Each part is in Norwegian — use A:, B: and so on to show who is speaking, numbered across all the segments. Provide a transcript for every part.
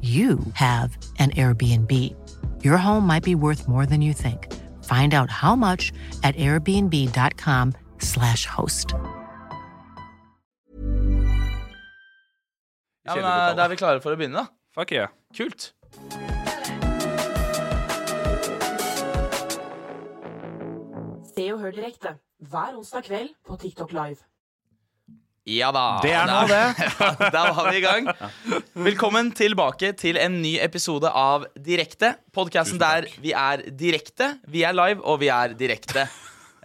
A: you have an Airbnb. Your home might be worth more than you think. Find out how much at airbnb.com/slash host.
B: Ja, men eh, Da er vi klare for å begynne, da.
C: Fuck yeah.
B: Kult.
D: Se og hør direkte hver onsdag kveld på TikTok Live.
B: Ja da.
C: Det er nå
B: det. Da var vi i gang. Velkommen tilbake til en ny episode av Direkte. Podkasten der vi er direkte, vi er live, og vi er direkte.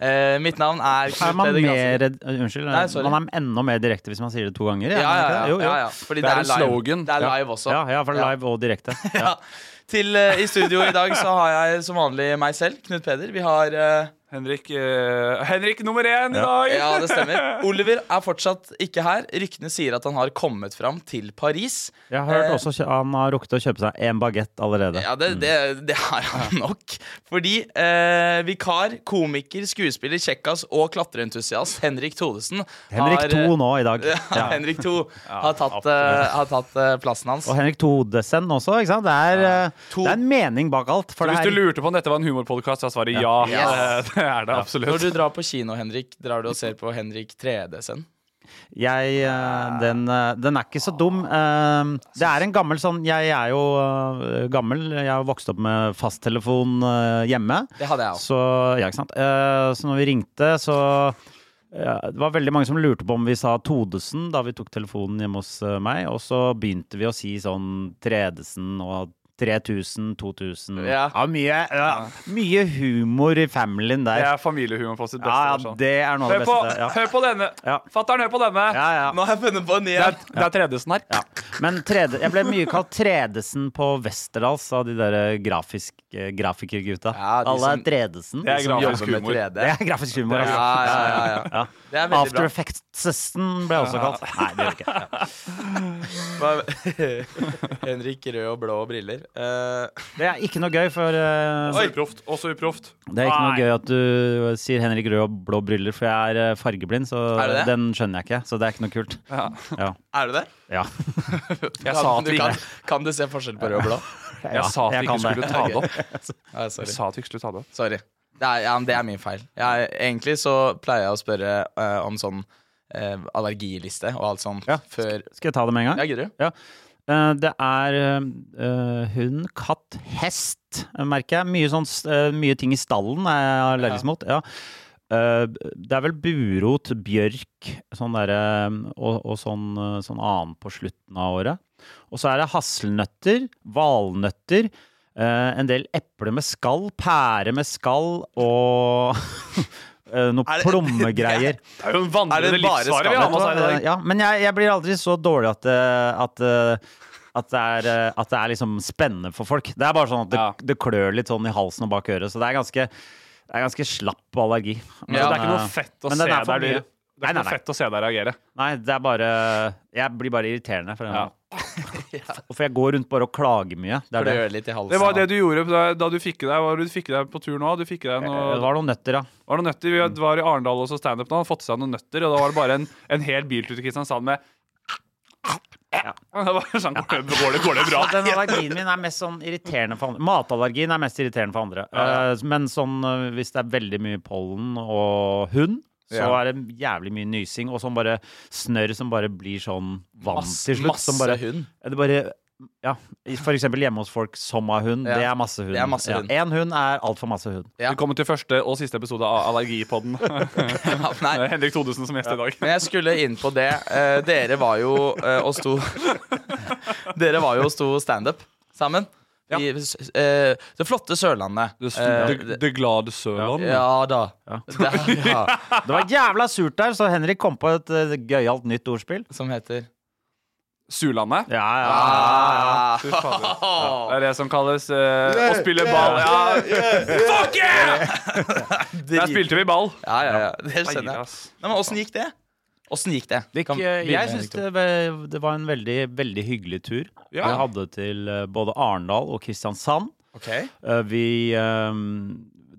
B: Eh, mitt navn er Knut
C: Er man
B: Peder Granseth.
E: altså.
C: mer Unnskyld.
B: Nei, sorry.
C: man er enda mer direkte hvis man sier det to ganger.
B: Ja, ja, ja.
C: Jo, jo.
B: ja, ja. Fordi
E: Det
B: det
E: er
B: er,
E: en
B: live.
E: slogan.
B: Det er live også.
C: Ja, ja, for live og direkte. Ja.
B: Ja. Til, eh, I studio i dag så har jeg som vanlig meg selv, Knut Peder. Vi har eh,
E: Henrik, eh, Henrik nummer én i dag!
B: Ja, det stemmer. Oliver er fortsatt ikke her. Ryktene sier at han har kommet fram til Paris.
C: Jeg har hørt
B: Eh,
C: også kjø- han har rukket å kjøpe seg en bagett allerede.
B: Ja, det, det, det har han nok. Fordi eh, vikar, komiker, skuespiller, kjekkas og klatreentusiast Henrik Thodesen
C: Henrik
B: har,
C: 2 nå i dag.
B: Ja,
C: Ja.
B: Henrik 2 har tatt,
C: absolutt.
B: eh, har tatt eh, plassen hans.
C: Og Henrik Todesen også. ikke sant? Det er, eh,
B: To-
C: det er en mening bak alt. For
E: Så
C: det
E: hvis du
C: her-
E: lurte på om dette var en humorpodkast, så er svaret ja.
B: Yes.
E: Det, det er det absolutt.
B: Når du drar på kino, Henrik, drar du og ser på Henrik 3D-sen?
C: jeg, eh, den, eh, den er ikke så dum. Eh, Det er en gammel sånn Jeg er jo eh, gammel. Jeg har vokst opp med fasttelefon eh, hjemme.
B: Det hadde jeg også.
C: Så, ja, ikke sant? Eh, så når vi ringte, så eh, Det var veldig mange som lurte på om vi sa Todesen da vi tok telefonen hjemme hos eh, meg. Og så begynte vi å si sånn Tredesen og 3000, 2000
B: Ja.
C: mye, ja, mye humor i familien
E: Det
C: der.
E: er familiehumor på sitt beste.
C: Ja, ja,
B: sånn.
E: versjon.
C: det er noe av
E: hør,
C: det
E: på,
C: beste. Ja.
E: hør på denne!
C: Ja.
E: Fatter'n, hør på denne!
C: Ja, ja.
B: Nå har jeg funnet på en ny
E: Det
B: en.
E: er, det er tredjesen her.
C: Ja. Men trede, jeg ble mye kalt Tredesen på Westerdals av de der grafisk, eh, grafikergutta.
B: Ja, de
C: Alle
B: som-
C: er Tredesen.
E: Det er
B: Som
E: grafisk
B: jobber med
E: humor.
B: 3D.
C: Det er grafisk humor.
B: Ja,
C: altså.
B: ja, ja, ja.
C: Ja.
B: Det er veldig
C: After
B: bra.
C: Effects-testen ble jeg også kalt. Nei, det gjør jeg ikke. Ja.
B: Henrik rød og blå briller. Eh,
C: Det er ikke noe gøy, for eh,
E: Også uproft. Også uproft.
C: Det er ikke noe gøy at du sier Henrik Rød og blå briller, for jeg er eh, fargeblind, så
B: Er du det?
C: den skjønner jeg ikke. Så det er ikke noe kult.
E: Ja.
C: Ja.
B: er du det?
C: Ja.
E: Jeg sa
B: Kan-
E: at
B: du
E: vi
B: kan,
E: ikke,
B: kan du se forskjell på rød og blå?
E: jeg
C: Ja,
E: sa at
C: jeg
E: vi
C: kan
E: ikke skulle
C: det.
E: ta det opp.
B: Nei,
E: Jeg
B: sorry.
E: sa at vi ikke skulle ta det opp.
B: sorry. Det er, ja, men det er min feil. Jeg, egentlig så pleier jeg å spørre eh, om sånn eh, allergiliste og alt sånt
C: Ja.
B: før
C: Skal jeg ta det med en gang?
B: Ja, gidder du?
C: Eh, Det er eh, hund, katt, hest, eh, merker jeg. Mye, sånn, s- eh, mye ting i stallen er jeg allergisk mot. Ja. Eh, Det er vel burot, bjørk sånn der, eh, og, og sånn, eh, sånn annen på slutten av året. Og så er det hasselnøtter, valnøtter, eh, en del eple med skall, pære med skall og eh, noe
B: Er det-
C: plommegreier.
E: Det er jo en
B: Er
E: vandrende
B: det bare
E: livsfare vi
B: skam?
E: har med oss her i dag.
C: Ja, men jeg, jeg blir aldri så dårlig at, det- at, eh, at, det er, eh, at det er liksom spennende for folk. Det er bare sånn at det,
E: Ja.
C: det klør litt sånn i halsen og bak øret, så det er ganske, det er ganske slapp allergi.
E: Men det er ikke noe fett å
C: men
E: se
C: den er for
E: der
C: mye.
E: du Det er
C: Nei, nei,
E: ikke
C: nei.
E: noe fett å se deg reagere.
C: Nei, det er bare Jeg blir bare irriterende. For,
E: Ja.
C: ja. for jeg går rundt bare og klager mye. Det,
B: For det
C: er det.
B: gjør litt i halsen.
E: Det var
B: da.
E: det du gjorde da, da du fikk i deg Hva var det du fikk i deg på tur nå? Du fikk i deg noe,
C: det var noen nøtter, ja.
E: var det noen nøtter. Vi var i Arendal og så standup nå, han hadde fått seg noen nøtter, og da var det bare en, en hel biltur til Kristiansand med Det var sånn, går, det, går, det, går det bra?
C: Den allergien min er mest sånn irriterende for andre. Matallergien er mest irriterende for andre. Eh, Men sånn eh, hvis det er veldig mye pollen og hund, så
E: Ja.
C: er det jævlig mye nysing og sånn bare snørr som bare blir sånn vann
B: Masse-
C: til slutt. Som bare,
B: masse hund.
C: Det bare ja, for eksempel hjemme hos folk som har hund.
B: Ja.
C: Det er masse hund.
B: Det er masse hund.
C: Ja, en hund er altfor masse hund.
B: Ja.
E: Velkommen til første og siste episode av Allergipodden.
B: Ja,
E: Det
B: nei.
E: er Henrik Thodesen som gjest i dag.
B: Men jeg skulle inn på det. Eh, dere var jo eh, og sto Dere var jo og sto standup sammen.
E: Ja.
B: I, s- eh, det flotte Sørlandet. Eh, det-
E: glade Sørland.
B: ja da. Det, ja,
C: Det var jævla surt der, så Henrik kom på et eh, gøyalt nytt ordspill.
B: som heter
E: Sulandet.
C: Ja, ja.
B: ah,
E: Fy fader. Det er det som kalles eh, å spille ball. Ja,
B: Fuck yeah!
E: der spilte vi ball.
B: Ja, ja, ja. Det skjønner
E: Feier,
B: jeg.
E: ass.
B: Nei, men åssen gikk det? Åssen gikk det?
C: Det gikk,
B: Kan-
C: eh,
B: begynne,
C: jeg syns
B: Victor.
C: det, var- det var en veldig, veldig hyggelig tur.
E: Ja.
C: Vi hadde til eh, både Arendal og Kristiansand.
B: Ok.
C: Eh, Vi eh,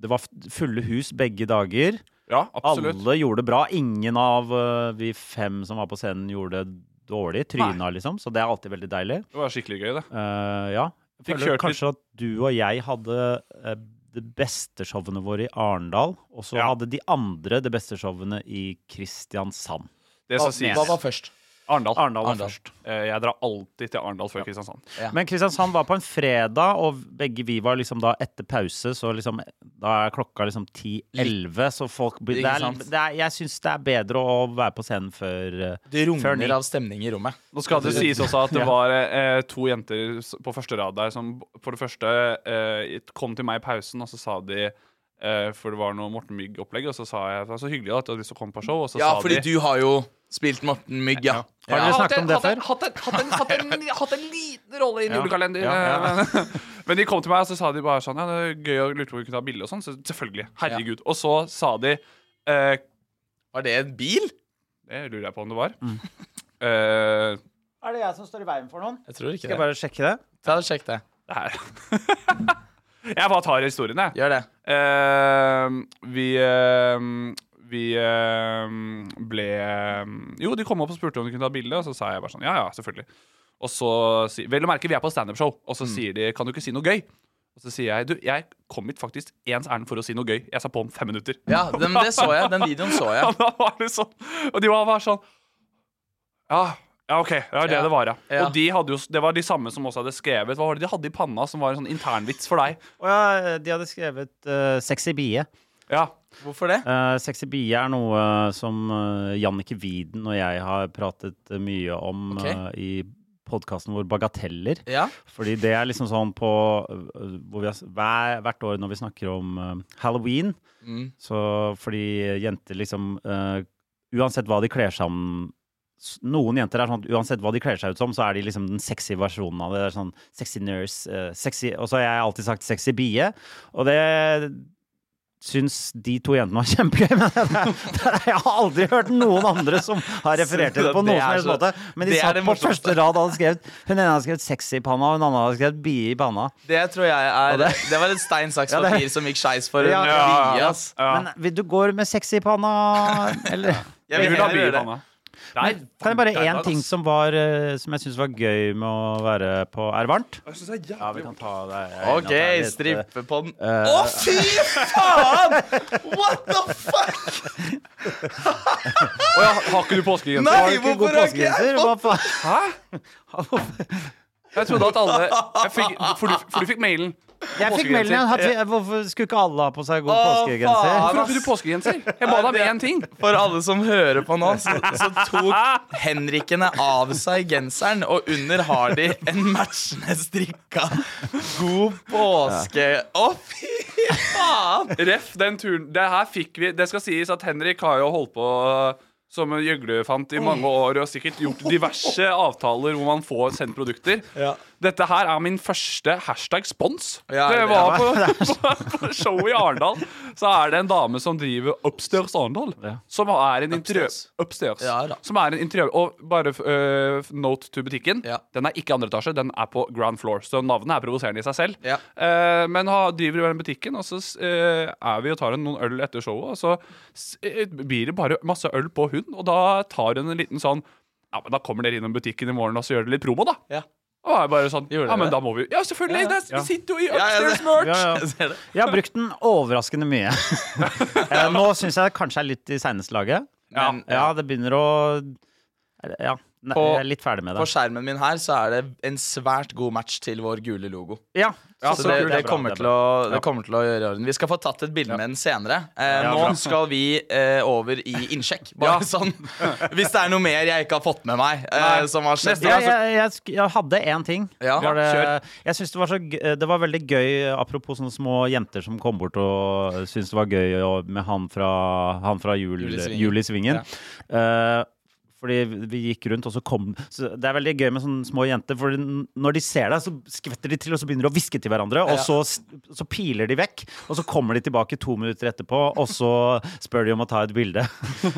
C: Det var f- fulle hus begge dager.
E: Ja, absolutt.
C: Alle gjorde det bra. Ingen av eh, vi fem som var på scenen, gjorde det dårlig. Tryna, liksom. Så det er alltid veldig deilig.
E: Det var skikkelig gøy, det.
C: Eh, ja.
E: Fikk
C: Føler
E: kjørt
C: kanskje at du og jeg hadde eh, det beste showene våre i Arendal, og så
E: Ja.
C: hadde de andre det beste showene i Kristiansand.
E: Det som sies.
B: Hva var først?
E: Arendal.
C: Arendal var
B: Arendal.
C: først.
E: Eh, Jeg drar alltid til Arendal før Kristiansand.
B: Ja.
C: Men Kristiansand var på en fredag, og begge vi var liksom da etter pause, så liksom da er klokka liksom 10-11, så folk blir-
B: Ikke
C: det er,
B: sant?
C: det er, Jeg syns det er bedre å være på scenen før eh,
B: Det
C: før ni.
B: runger av stemning i rommet.
E: Nå skal det sies også at det var eh, to jenter s- på første rad der som b- for det første eh, kom til meg i pausen, og så sa de eh, For det var noe Morten Mygg-opplegg, og så sa jeg det var så hyggelig at du hadde lyst til å komme på show, og så
B: Ja,
E: sa
B: fordi
E: de
B: du har jo spilt Morten Mygg, ja.
C: Har dere snakket om det før?
E: Hatt en, hatt en, hatt en, hatt en liten rolle i en
C: Ja.
E: julekalender. eh,
C: Ja,
E: Men de kom til meg og så sa de bare sånn Ja, det er gøy å lure på om vi kunne ta bilde og sånn. Så selvfølgelig. Herregud. Og så sa de eh,
B: Var det en bil?
E: Det lurer jeg på om det var. Eh,
C: Mm. Er det jeg som står i veien for noen?
B: Jeg tror ikke
C: Skal
B: det.
C: jeg bare sjekke det?
B: Ta og Sjekk det.
E: det her. jeg bare tar historien, jeg.
B: Gjør det.
E: Eh, vi eh, vi eh, ble ehm, Jo, de kom opp og spurte om de kunne ta bilde, og så sa jeg bare sånn Ja, ja, selvfølgelig. Og så si, Vel å merke, vi er på standup-show, og
B: Mm.
E: så sier de Kan du ikke si noe gøy? Og så sier jeg Du, jeg kom hit faktisk ens ærend for å si noe gøy. Jeg sa på om fem minutter.
B: Ja, den, det så jeg. Den videoen så
E: Ja,
B: jeg.
E: da var det sånn Og de var bare sånn Ja, ja OK. Det var det
B: Ja.
E: det var, ja.
B: Ja.
E: Og de hadde jo, det var de samme som også hadde skrevet Hva var det de hadde i panna som var en sånn internvits for deg?
C: Å ja, de hadde skrevet eh, 'Sexy bie'.
E: Ja.
B: Hvorfor det?
C: Eh, sexy bie er noe som uh, Jannike Widen og jeg har pratet eh, mye om
B: Ok.
C: eh, i podkasten vår Bagateller.
B: Ja.
C: Fordi det er liksom sånn på eh, hvor vi har, s- hver, Hvert år når vi snakker om eh, halloween,
B: Mm.
C: så fordi jenter liksom eh, Uansett hva de kler seg om s- noen jenter er sånn at uansett hva de kler seg ut som, så er de liksom den sexy versjonen av det. det er sånn Sexy nurse, eh, sexy Og så har jeg alltid sagt sexy bie. Og det syns de to jentene var kjempegøy. Men det, er- det, er- jeg har aldri hørt noen andre som har referert til det på
B: Det
C: noen
B: er
C: som helst
B: så-
C: måte. Men de
B: det er
C: satt
B: det
C: på
B: morsomste.
C: første rad og hadde skrevet Hun ene hadde skrevet 'sexy' i panna, og hun andre hadde skrevet 'bie' i panna.
B: Det tror jeg er
C: det-
B: Det var et stein, saks,
C: Ja, det-
B: papir som gikk skeis for en
C: Ja,
E: ja,
B: bie,
E: ja.
B: ass.
C: Men vil du gå med 'sexy' i panna, eller?
B: Jeg vil
E: Hun har
B: heller
E: mye
B: gjøre
E: i
B: det.
E: panna.
C: Kan jeg bare
B: Der,
C: én
B: ass.
C: ting som, var, eh, som jeg syns var gøy med å være på Er det varmt? Ja, vi kan ta det.
B: OK,
C: eh,
B: strippe på den. Å, fy faen! What the fuck?
E: Å ja, har ikke du påskegenser?
B: Nei,
E: Har du ikke
B: hvorfor
E: god
B: har ikke jeg
E: påskegenser?
C: Hva faen?
E: Jeg trodde at alle jeg fikk, for, du, for du fikk mailen.
C: Jeg fikk melding igjen. Hadde- Hvorfor skulle ikke alle ha på seg god
B: Å,
C: påskegenser?
B: faen.
E: Hvorfor hadde du påskegenser? Jeg ba deg om én ting.
B: For alle som hører på nå, så, så tok Henrikene av seg genseren, og under har de en matchende strikka God påske. Å, fy faen!
E: Ref, den turen Det her fikk vi Det skal sies at Henrik har jo holdt på eh, Som Gjøgle fant i
B: Mm.
E: mange år, og sikkert gjort diverse avtaler hvor man får sendt produkter. Dette her er min første hashtag spons.
B: Ja,
E: det
B: det
E: var på, på, på showet i Arendal. Så er det en dame som driver Upstairs Arendal. Som er en interiør...
B: Upstairs.
E: Upstairs.
B: Ja da.
E: som er en interiør... Og bare øh, note to butikken.
B: Ja.
E: Den er ikke andre etasje, den er på ground floor. Så navnet er provoserende i seg selv.
B: Ja.
E: Eh, men ha, driver jo den butikken, og så eh, er vi og tar en noen øl etter showet. Og så s- eh, blir det bare masse øl på hun, og da tar hun en liten sånn Ja, men da kommer dere innom butikken i morgen og så gjør dere litt promo, da.
B: Ja.
E: Og jeg bare sånn, ja,
B: Gjorde dere
E: men
B: det?
E: da må vi Ja, selvfølgelig!
B: Ja, ja.
E: det er- Vi sitter jo i
B: Ja, ja, det-
E: Upstairs Merch!
C: Ja, ja.
B: Jeg ser det.
C: Jeg har brukt den overraskende mye. Eh, Nå syns jeg det kanskje er litt i seneste laget.
E: Ja.
C: Men ja, det begynner å Ja, ne-
B: På-
C: jeg er litt ferdig med
B: På
C: det.
B: skjermen min her så er det en svært god match til vår gule logo.
C: Ja,
B: Så
E: så
B: det,
E: kult.
B: det,
E: Det er bra,
B: kommer
C: det er
B: til å, det kommer til å gjøre orden. Vi skal få tatt et bilde med den senere. Eh,
C: Ja,
B: nå
C: bra.
B: skal vi eh, over i innsjekk. Bare
E: Ja.
B: sånn. Hvis det er noe mer jeg ikke har fått med meg. Eh,
E: Nei.
B: som har skjedd
E: Neste gang
C: jeg, jeg, jeg, sk- jeg hadde én ting.
B: altså. Ja.
C: Var det,
E: Ja,
C: jeg synes det, var så gøy, det var veldig gøy, apropos sånne små jenter som kom bort og syntes det var gøy og, med han fra, han fra jul,
B: Jul i Svingen.
C: Jul i Svingen. Eh, fordi vi gikk rundt, og så kom så Det er veldig gøy med sånne små jenter, for når de ser deg, så skvetter de til, og så begynner de å hviske til hverandre, og
B: Ja.
C: så, s- så piler de vekk. Og så kommer de tilbake to minutter etterpå, og så spør de om å ta et bilde.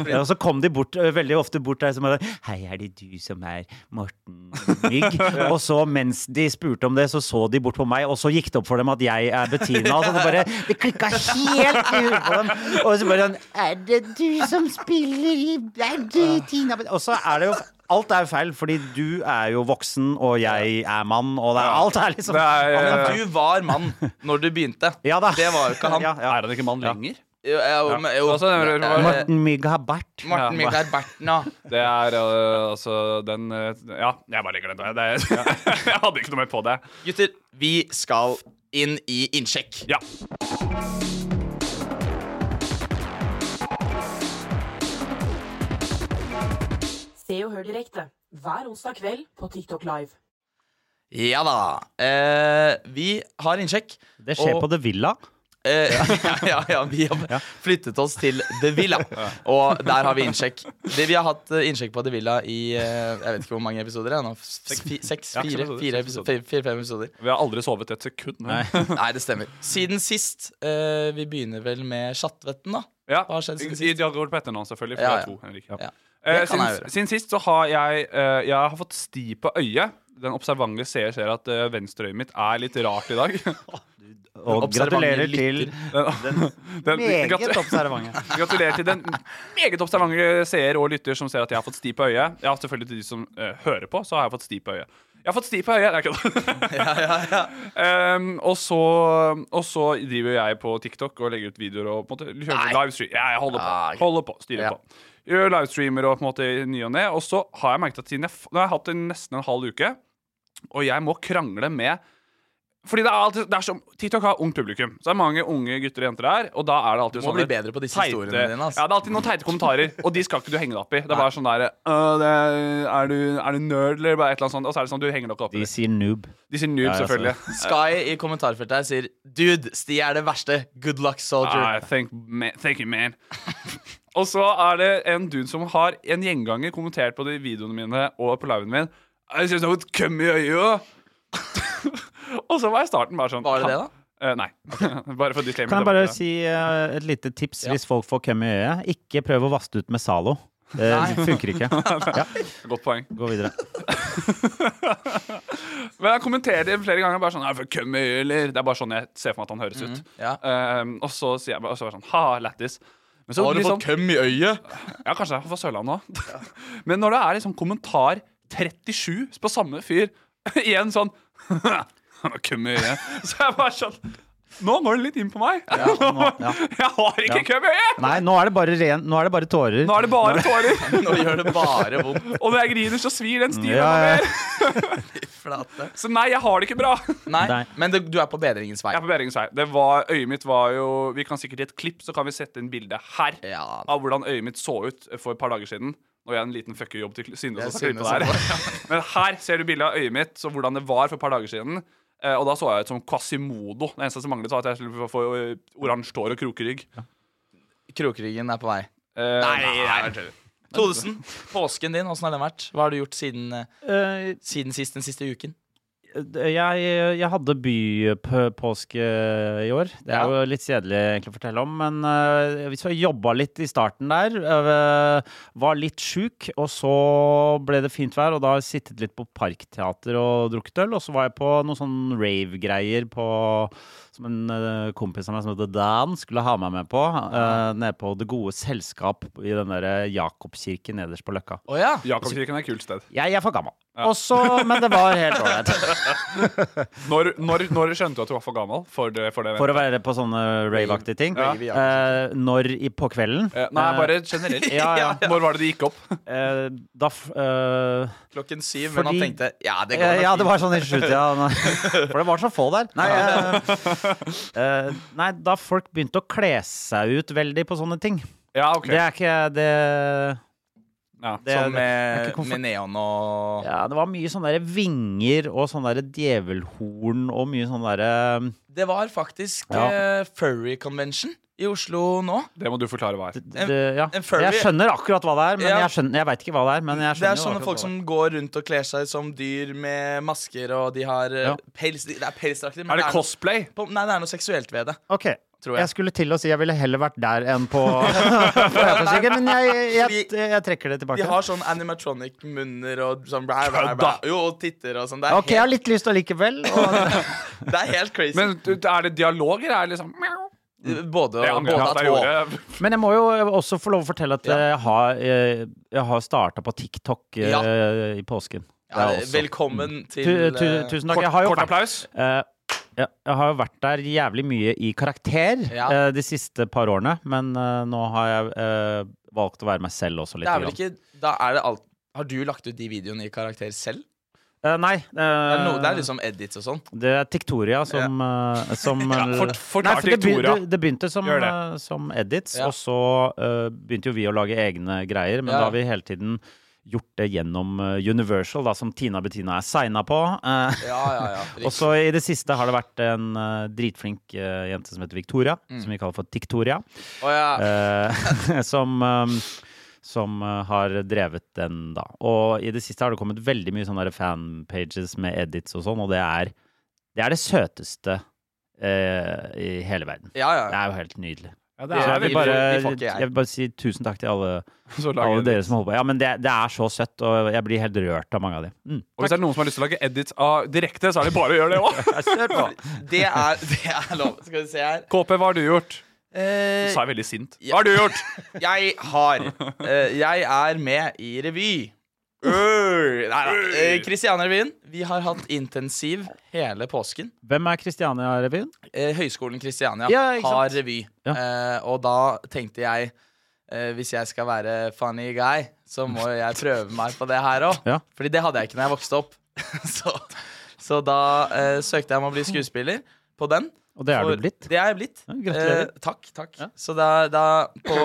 C: Ja, og så kom de bort, eh, veldig ofte bort der som bare Hei, er det du som er Morten Mygg? Og så mens de spurte om det, så så de bort på meg, og så gikk det opp for dem at jeg er Bettina. Så det bare Det klikka helt i huet på dem. Og så bare sånn Er det du som spiller i Er du Tina Bet-» Og så er det jo Alt er jo feil, fordi du er jo voksen, og jeg er mann, og det er, alt er liksom
E: Det er,
B: Ja,
E: eh,
B: men du var mann når du begynte.
C: Ja da.
B: Det var jo ikke han.
C: Ja, ja.
E: er han ikke mann lenger?
B: Jo, eh, jo, men- jo.
E: Altså, det var-
B: Eh,
C: Morten Mygg har bart.
B: Morten
E: Ja.
B: Mikael Berten, ja.
E: Det er øh, altså den øh, Ja, jeg bare legger den der. Det er- Jeg hadde ikke noe mer på det.
B: Gutter, vi skal inn i innsjekk.
E: Ja.
D: Se og hør direkte hver onsdag kveld på TikTok Live.
B: Ja da. Eh, vi har innsjekk.
C: Det skjer
B: Og-
C: på The Villa.
B: Eh, ja, ja, ja, vi har flyttet oss til The Villa, og der har vi innsjekk. Det Vi har hatt eh, innsjekk på The Villa i eh, jeg vet ikke hvor mange episoder. det er Nå. F- fi- Seks,
E: Ja, seks
B: fire,
E: episoder,
B: fire,
E: seks
B: episoder, fire, fire, fem episoder.
E: Vi har aldri sovet et sekund.
B: Nei, det stemmer. Siden sist. eh, vi begynner vel med Chatvetten, da.
E: Ja.
B: Hva har skjedd siden
E: I-
B: sist?
E: De har gått på etternavn, selvfølgelig. For
B: Ja,
E: ja,
B: ja.
E: To, Henrik. Ja.
B: Ja.
E: Eh,
B: Det kan jeg
E: siden,
B: gjøre.
E: siden sist så har jeg, eh, jeg har fått sti på øyet. Den observante seer ser at eh, venstre øyet mitt er litt rart i dag.
C: Og
B: Observante
C: gratulerer
B: lytter.
C: til
E: Den, den,
C: meget
E: gratu-
C: observante.
E: gratulerer til den meget observante seer og lytter som ser at jeg har fått sti på øyet. Ja, selvfølgelig til de som eh, hører på, så har jeg fått sti på øyet. Jeg har fått sti på øyet! Nei, kødda. Ehm, og, så, og så driver jeg på TikTok og legger ut videoer og på en måte kjører livestream. Ja, jeg holder på.
B: Nei.
E: Holder på, styrer
B: Ja.
E: på. Gjør livestreamer og på en måte i ny og ne. Og så har jeg merket at siden jeg, f- nå har jeg hatt det nesten en halv uke, og jeg må krangle med fordi det er alltid, det er som, TikTok har ungt publikum, så det er mange unge gutter og jenter der. Og da er det alltid
B: Du må
E: sånne
B: bli bedre på disse historiene dine, altså.
E: Ja, det er alltid noen teite kommentarer, og de skal ikke du henge deg opp i. Det er bare sånn der «Øh, det er, er, du, 'Er du nerd', eller bare et eller annet sånt. Og så er det sånn, du henger deg ikke opp i
C: De
E: det.
C: sier noob.
E: De sier noob,
C: Ja, ja,
E: selvfølgelig.
B: Sky i kommentarfeltet her sier Dude, Sti er det verste. Good
E: Ah,
B: luck, soldier.
E: thank, ma- thank you, man. og så er det en dude som har en gjenganger kommentert på de videoene mine og på liven min. Jeg synes jeg har fått køm i øyet. og så var jeg i starten bare sånn
B: Var det det, da?
E: Eh, nei. bare for disclaimer. det
C: Kan jeg
E: var
C: bare
E: ikke det.
C: si eh, et lite tips hvis folk får køm i øyet? Ikke prøv å vaste ut med Zalo. Det funker ikke. Ja,
E: Godt poeng.
C: gå videre.
E: Men jeg kommenterer det flere ganger. Bare sånn, er det for køm i øyet, eller? Det er bare sånn jeg ser for meg at han høres ut.
B: Ja.
E: Eh, og så sier jeg bare, og så er det sånn, ha, lættis. Men så
B: Har du
E: liksom-
B: fått køm i øyet?
E: Ja, kanskje jeg er fra Sørlandet òg. Men når det er liksom kommentar 37 på samme fyr igjen sånn Han har køm i øyet. Så jeg bare sånn Nå går det litt inn på meg.
C: nå- ja.
E: Jeg har ikke køm i øyet!
C: Nei, nå er det bare, ren, nå er det bare tårer.
E: Nå er det bare tårer.
B: Nå gjør det bare vondt.
E: Og når jeg griner, så svir den stilen
C: Ja, ja.
E: noe mer.
B: Flate.
E: Så nei, jeg har det ikke bra. Jeg
B: Nei,
C: Nei.
B: men det, du er på bedringens vei.
E: er på bedringens vei. Det var, øyet mitt var jo Vi kan sikkert i et klipp så kan vi sette inn bilde her
B: Ja.
E: av hvordan øyet mitt så ut for et par dager siden. Når jeg er en liten fuckerjobb til Synne.
B: Jeg
E: som skal klippe
B: synes
E: det her. Men her ser du bildet av øyet mitt så hvordan det var for et par dager siden. Eh, og da så jeg ut som Quasimodo. Det eneste som manglet, var at jeg skulle få- få eh, oransje tår og krokerygg.
B: Krokryggen er på vei.
E: Eh,
B: Nei, nei, nei. Todesen, påsken din, åssen har den vært? Hva har du gjort siden, eh,
C: Eh,
B: siden sist, den siste uken?
C: jeg, jeg hadde bypåske i år. Det er jo litt kjedelig egentlig å fortelle om, men eh, hvis vi jobba litt i starten der, eh, var litt sjuk, og så ble det fint vær, og da har jeg sittet litt på parkteater og drukket øl, og så var jeg på noen sånn rave-greier på som en eh, kompis av meg som heter Dan, skulle ha meg med på. eh, Nede på Det gode selskap i den der Jakobkirken nederst på Løkka.
B: Å ja.
E: Jakobkirken er et kult sted.
C: Jeg er for gammel. Og så- men det var helt ålreit.
E: Når, når, når skjønte du at du var for gammel for det? For det
C: For å være på sånne rave-aktige ting. Eh, når i, på kvelden?
E: Eh, Nei, bare generelt.
C: Ja, ja.
E: Når var det det gikk opp?
C: Eh, da f... eh,
B: Klokken syv, men
C: Fordi-
B: han tenkte ja, det går
C: eh, ja,
B: nok
C: det
B: fint.
C: var sånn i sjutida. nei. For det var så få der. Nei, eh, eh, nei, da folk begynte å kle seg ut veldig på sånne ting.
E: Ja, ok.
C: Det er ikke det,
E: Ja. eh,
B: Sånn
C: det, det er
B: med,
C: ikke komfort-
B: med neon og
C: ja, det var mye sånne der vinger og sånne der djevelhorn og mye sånne eh, derre
B: Det var faktisk
C: Ja.
B: eh, furry convention i Oslo nå.
E: Det må du forklare hva er.
C: det- det- ja.
B: en furry-
C: Jeg skjønner akkurat hva det er, men
B: Ja.
C: jeg, skjønner- jeg veit ikke hva det er. Men jeg
B: Det
C: skjønner
B: er
C: jo
B: sånne
C: akkurat
B: folk
C: hva det
B: som går rundt og kler seg som dyr med masker, og de har eh,
C: Ja.
B: pels. Det er pelsdrakter. men
E: Er det
B: noe
E: cosplay?
B: på- Nei, det er noe seksuelt ved det.
C: Ok,
B: Tror
C: jeg.
B: jeg.
C: skulle til å si jeg ville heller vært der enn på, på Jakobsviken, men jeg, jeg, jeg, jeg trekker det
B: De
C: tilbake.
B: har sånn animatronic-munner og sånn blæ, blæ, blæ.
E: Kødda!
B: Jo, og titter og sånn. Det, er
C: Ok, jeg har
B: helt-
C: litt lyst allikevel. og-
B: det er helt crazy.
E: Men du- er det dialog, eller er det liksom
B: både
E: Det
B: og.
E: angrer jeg
B: Både
E: på at
B: at
E: jeg
B: og.
E: gjorde.
C: Men jeg må jo også få lov å fortelle at
B: Ja.
C: jeg har, eh, jeg har starta på TikTok eh,
B: Ja.
C: i påsken. Det
B: Ja,
C: er også- Mm.
B: velkommen til
C: Tu- tu-
B: eh,
C: Tusen takk.
E: Kort,
C: Jeg har jo
E: kort
C: vært,
E: applaus.
C: eh, ja, jeg har jo vært der jævlig mye i karakter
B: Ja.
C: eh, de siste par årene, men eh, nå har jeg eh, valgt å være meg selv også litt.
B: Det er vel ikke Da er det alt Har du lagt ut de videoene i karakter selv?
C: Eh, nei.
B: Det er, no,
C: Eh.
B: det er liksom edits og sånn.
C: Det er Tiktoria som, eh, som
E: Ja, fort- forklar
C: Nei, for det, begy-
E: Tiktoria.
C: det, det begynte som,
E: Gjør
C: eh, som edits,
B: Ja.
C: og så eh, begynte jo vi å lage egne greier, men
B: Ja.
C: da har vi hele tiden gjort det gjennom eh, Universal, da, som Tina Bettina er signa på. eh,
B: Ja, ja, ja.
C: og så i det siste har det vært en eh, dritflink eh, jente som heter Victoria, som vi kaller for Tiktoria,
B: Å, Mm. ja.
C: eh, som eh, som eh, har drevet den, da. Og i det siste har det kommet veldig mye sånne der fanpages med edits og sånn, og det er det, er det søteste eh, i hele verden.
B: ja,
C: Det
B: ja.
C: er jo helt nydelig.
E: Ja,
B: det
C: Så
B: er
C: jeg, vil
B: veldig-
C: bare,
B: de får ikke jeg.
C: jeg vil bare si tusen takk til alle,
E: Så lager
C: alle
E: jeg det.
C: dere som holder på. Ja, men det, det er så søtt, og jeg blir helt rørt av mange av dem. Mm.
E: Og hvis det er noen som har lyst til å lage edits av direkte, så er det bare å gjøre det òg.
B: Det er, det er lov. Skal vi se her.
E: KP, hva har du gjort?
B: Eh,
E: Så er jeg veldig sint.
B: ja.
E: Hva har du gjort?
B: Jeg har eh, Jeg er med i revy. Øh, Nei da. Eh, Kristiania-revyen. Vi har hatt intensiv hele påsken.
C: Hvem er Kristiania-revyen?
B: Eh, Høgskolen Kristiania
C: Ja, ikke sant?
B: har revy.
C: Ja.
B: Eh, og da tenkte jeg eh, hvis jeg skal være funny guy, så må jo jeg prøve meg på det her òg.
C: Ja.
B: Fordi det hadde jeg ikke når jeg vokste opp. så, så da eh, søkte jeg om å bli skuespiller på den.
C: Og det er
B: For-
C: du blitt.
B: Det er jeg blitt.
C: Ja, gratulerer.
B: Eh, takk, takk. Så da, da på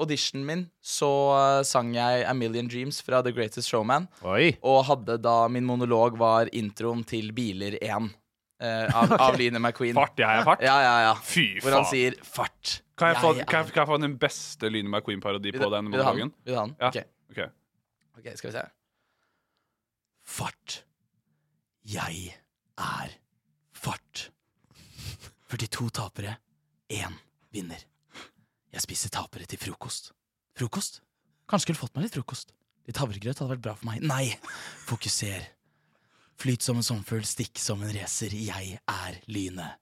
B: auditionen min så eh, sang jeg A Million Dreams fra The Greatest Showman.
C: Oi.
B: Og hadde da min monolog var introen til Biler 1 eh, av, av Line McQueen.
E: Fart, jeg er fart.
B: Ja, ja, ja.
E: Fy
B: Hvor han
E: faen.
B: sier 'fart'.
E: Kan jeg få,
B: Jeg er-
E: kan jeg, kan jeg få den beste Lyne McQueen-parodi
B: Vil
E: på
B: du-
E: den
B: vil du ha den?
E: monologen?
B: Vil du ha den?
E: Ja.
B: Ok.
E: Ok.
B: ok, skal vi se. Fart. Jeg er fart. 42 tapere, én vinner. Jeg spiser tapere til frokost. Frokost? Kanskje skulle fått meg litt frokost. Litt havregrøt hadde vært bra for meg. Nei! Fokuser. Flyt som en sommerfugl, stikk som en racer. Jeg er lynet.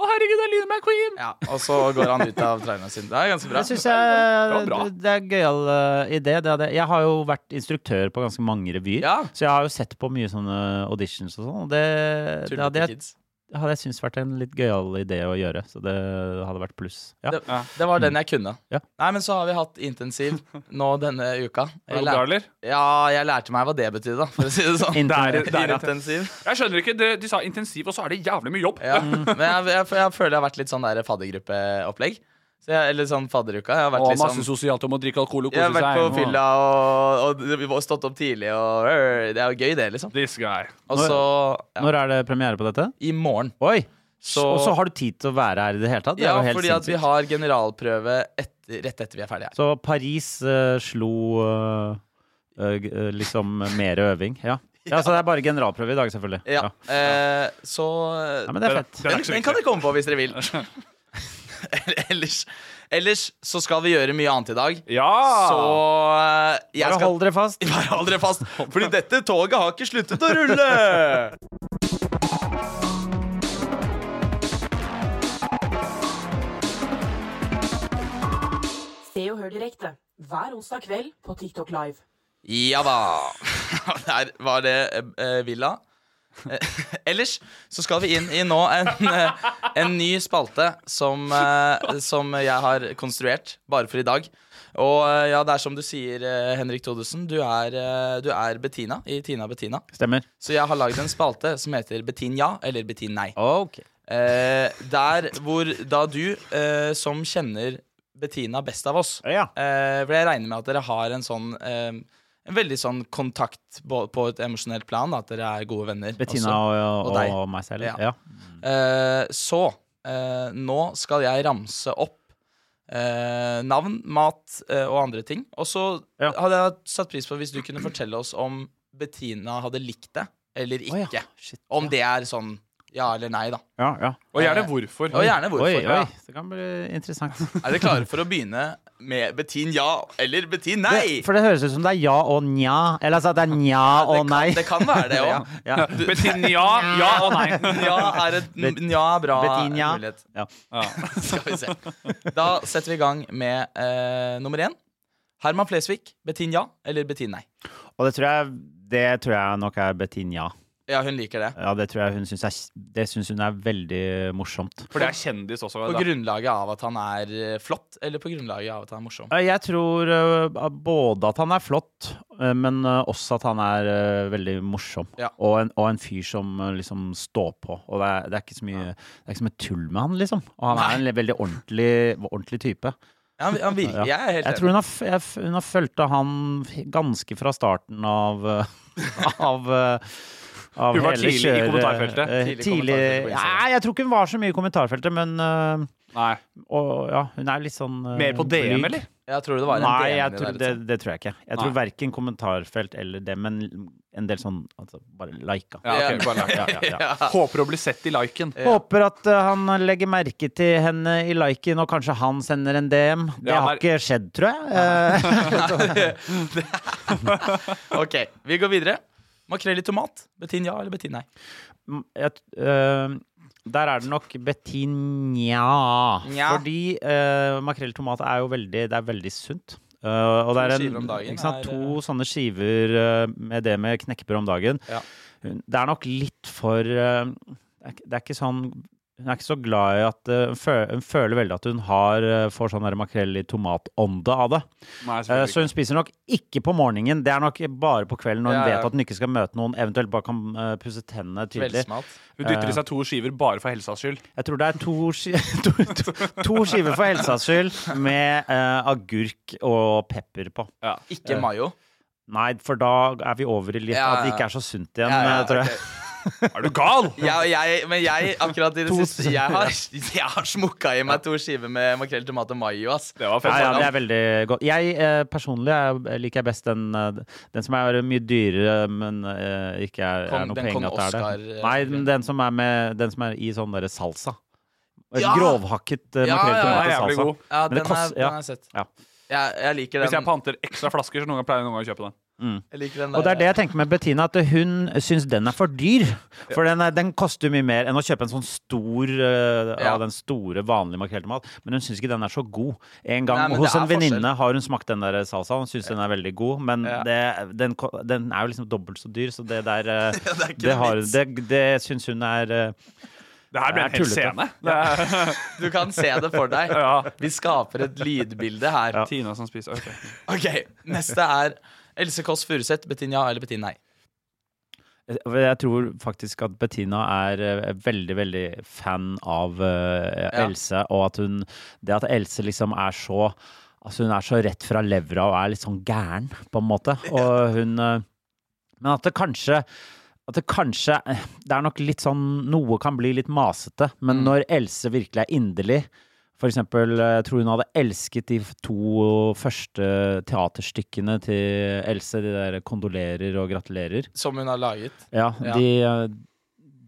E: Å, herregud, det er Lyne McQueen!
B: Ja, og så går han ut av traileren sin. Det er ganske bra.
C: Det syns jeg
E: Det var bra.
C: det er en gøyal eh, idé. Det hadde, jeg har jo vært instruktør på ganske mange revyer,
B: Ja.
C: så jeg har jo sett på mye sånne auditions og sånn. Og det, det hadde jeg,
B: Kids.
C: hadde jeg syntes vært en litt gøyal idé å gjøre, så det hadde vært pluss. Ja.
B: Det, det var den jeg kunne.
C: Mm. Ja.
B: Nei, men så har vi hatt intensiv nå denne uka.
E: Er du
B: lær-
E: glad, eller?
B: ja, jeg lærte meg hva det betydde, da, for å si det sånn.
C: Inter-
E: Det er- det er-
B: intensiv.
E: Jeg skjønner ikke, det, De sa intensiv, og så er det jævlig mye jobb.
B: Ja. Men jeg, jeg, for jeg føler jeg har vært litt sånn der faddergruppeopplegg. Så jeg, eller sånn fadderuka. Jeg har vært
E: Og
B: litt
E: masse
B: sånn
E: sosialt om å drikke alkohol og
B: jeg har
E: kose
B: vært på
E: seg.
B: fylla og, og, og stått opp tidlig, og øh, det er jo gøy, det, liksom.
E: This guy.
B: Og så ja,
C: Når er det premiere på dette?
B: i morgen.
C: Oi!
B: Så-
C: og så har du tid til å være her i det hele tatt? Det er
B: Ja,
C: jo helt
B: fordi at vi
C: sinnssykt.
B: har generalprøve etter rett etter vi er ferdige her.
C: Så Paris eh, slo eh, eh, g- eh, liksom mer øving. Ja. ja, så det er bare generalprøve i dag, selvfølgelig.
B: Ja.
C: Ja.
B: Eh, så
C: Ja, men det er fett.
E: Det er
B: den,
E: ikke så
B: den kan dere komme på hvis dere vil. ellers, ellers så skal vi gjøre mye annet i dag.
E: Ja!
B: Så eh, jeg
C: Bare
B: skal
C: hold dere fast.
B: Bare hold dere fast, fordi dette toget har ikke sluttet å rulle!
D: Se og hør direkte hver onsdag kveld på TikTok Live.
B: Ja da. Der var det eh, Villa. Eh, ellers så skal vi inn i nå en, eh, en ny spalte som, eh, som jeg har konstruert bare for i dag. Og eh, ja, det er som du sier, eh, Henrik Thodesen, du er, eh, du er Bettina i Tina Bettina.
C: Stemmer.
B: Så jeg har lagd en spalte som heter Betin ja eller Betin nei.
C: Ok.
B: Eh, der hvor da du, eh, som kjenner Bettina best av oss
C: Ja.
B: eh, For jeg regner med at dere har en sånn eh, En veldig sånn kontakt på, på et emosjonelt plan, da, at dere er gode venner.
C: Bettina
B: også.
C: og, og,
B: Og deg.
C: og, meg selv.
B: Ja.
C: Ja.
B: Eh, så eh, nå skal jeg ramse opp eh, navn, mat eh, og andre ting. Og så
C: Ja.
B: hadde jeg satt pris på hvis du kunne fortelle oss om Bettina hadde likt det eller ikke.
C: Å ja, shit,
B: Om det er sånn ja eller nei, da.
C: Ja, ja.
E: Og gjerne hvorfor.
B: Og gjerne hvorfor.
C: Oi,
B: Ja.
C: oi. Det kan bli interessant.
B: Er dere klare for å begynne med Betin ja eller Betin nei?
C: Det, for det høres ut som det er ja og nja. Eller altså at det er nja og nei.
B: Det kan være det òg.
C: Ja.
E: Betinn ja, ja og nei.
B: Nja er et nja er bra
C: Betin ja.
B: mulighet.
C: ja.
B: Skal vi se. Da setter vi i gang med eh, nummer én. Herman Flesvig, Betin ja eller Betin nei?
C: Og det tror jeg, det tror jeg nok er Bettin ja.
B: Ja, hun liker det.
C: Ja, det tror jeg hun syns er, det syns hun er veldig morsomt.
E: For det er kjendis også.
B: På
E: da.
B: grunnlaget av at han er eh, flott, eller på grunnlaget av at han er morsom?
C: Eh, Jeg tror eh, både at han er flott, eh, men eh, også at han er eh, veldig morsom.
B: Ja.
C: Og, en, og en fyr som eh, liksom står på. Og det er, det er ikke så mye Det er ikke så mye tull med han, liksom. Og han
B: Nei.
C: er en le- veldig ordentlig, ordentlig type.
B: Ja, han, han virker,
C: Ja.
B: Jeg er helt
C: Jeg tror hun har, f- jeg, f- hun har fulgt av han f- ganske fra starten av eh, Av, eh, av
E: Hun var
C: hele
E: tidlig i
C: kjøret.
E: kommentarfeltet.
C: Eh,
B: Tidlig i
C: Tidlig
B: kommentarfeltet på Instagram.
C: Nei, jeg tror ikke hun var så mye i kommentarfeltet, men eh,
E: Nei.
C: og, ja, Hun er litt sånn eh,
E: Mer på DM,
C: blyg.
E: eller?
B: Jeg tror det var en
C: Nei,
B: DM
C: jeg
B: i
C: tror,
B: der,
C: det,
B: liksom.
C: det tror jeg ikke. Jeg tror
E: Nei.
C: verken kommentarfelt eller det, men en del sånn altså, bare lika.
E: Ja, ok, bare like.
C: ja, ja, ja.
E: Håper å bli sett i liken.
B: Eh,
C: Håper at uh, han legger merke til henne i liken, og kanskje han sender en DM. Det
E: Ja, men-
C: har ikke skjedd, tror jeg. Eh,
B: Ok, vi går videre. Makrell i tomat, Betin ja eller Betin nei?
C: m- jeg t- eh, der er det nok Bettinja.
B: Nja.
C: Fordi uh, makrell i tomat er jo veldig, det er veldig sunt. Eh, og det er
B: To
C: en,
B: skiver om dagen
C: ikke sant,
B: er,
C: to sånne skiver eh, med det med knekkebrød om dagen.
B: Ja.
C: Hun- Det er nok litt for eh, Det er, ikke- det er ikke sånn hun er ikke så glad i at eh, hun føler, hun føler veldig at hun har, eh, får sånn der makrell i tomatånde av det.
E: Nei,
C: Eh,
E: selvfølgelig
C: Så hun spiser nok ikke på morgenen. Det er nok bare på kvelden når hun
B: Ja, ja.
C: vet at hun ikke skal møte noen, eventuelt bare kan eh, pusse tennene tydelig.
B: Kveldsmat.
E: ikke. Hun dytter i seg to skiver bare for helsas skyld.
C: Jeg tror det er to, ski to, to, to skiver for helsas skyld med eh, agurk og pepper på.
E: Ja.
B: Ikke mayo.
C: Nei, for da er vi over i litt
B: Ja,
C: at det
B: ja.
C: ikke er så sunt igjen,
B: Ja, ja,
C: eh, tror jeg.
B: ok.
E: Er du gal?!
B: jeg, jeg, men jeg, akkurat i det
C: To
B: siste Jeg har, jeg har smukka i meg to skiver med makrell, tomat og mayo, ass.
E: Det var fett.
C: Ja, ja, det er veldig godt. Jeg eh, personlig er, liker jeg best den, eh, den som er mye dyrere, men eh, ikke er,
B: Kong-
C: er noe
B: den
C: penger
B: Kong
C: at det er
B: Oscar,
C: det.
B: eh,
C: Nei, den, den, som er med, den som er i sånn derre salsa.
B: Ja!
C: Grovhakket eh,
B: Ja,
C: makrell
E: Den er
B: ja, ja,
C: i tomat og
E: jævlig
C: salsa.
E: god.
B: Ja,
C: Men
B: den,
C: det kost-
B: er, den
C: ja.
B: har jeg sett.
C: Ja.
B: Jeg, jeg liker
E: Hvis jeg
B: den.
E: panter ekstra flasker, så noen ganger pleier jeg noen ganger å kjøpe den.
B: Jeg liker den
C: Og det er det jeg tenker med Bettina, at hun syns den er for dyr. For den, er, den koster jo mye mer enn å kjøpe en sånn stor eh,
B: Ja.
C: av den store, vanlige makrelltomat. Men hun syns ikke den er så god. En gang
B: Nei, men
C: hos
B: det er
C: en venninne har hun smakt den der salsaen, syns den er veldig god, men
B: Ja.
C: det, den, ko- den er jo liksom dobbelt så dyr, så det der eh,
B: det er ikke
C: Det, har,
B: vits.
C: det, det syns hun er eh,
E: Det her ble en
C: Det er
E: hel
C: tullete.
E: scene. Det er
B: Du kan se det for deg.
E: Ja.
B: Vi skaper et lydbilde her.
E: Tina som spiser. ok.
B: Ok, Neste er Else Kåss Furuseth, Bettin ja eller Bettin nei?
C: Eh, Jeg tror faktisk at Bettina er eh, veldig, veldig fan av eh,
B: Ja.
C: Else, og at hun Det at Else liksom er så Altså, hun er så rett fra levra og er litt sånn gæren, på en måte. Og hun eh, Men at det kanskje at det kanskje eh, Det er nok litt sånn Noe kan bli litt masete, men når Else virkelig er inderlig For eksempel, eh, jeg tror hun hadde elsket de f- to første teaterstykkene til Else, de der 'Kondolerer' og 'Gratulerer'.
B: Som hun har laget.
C: Ja,
B: Ja.
C: de, eh,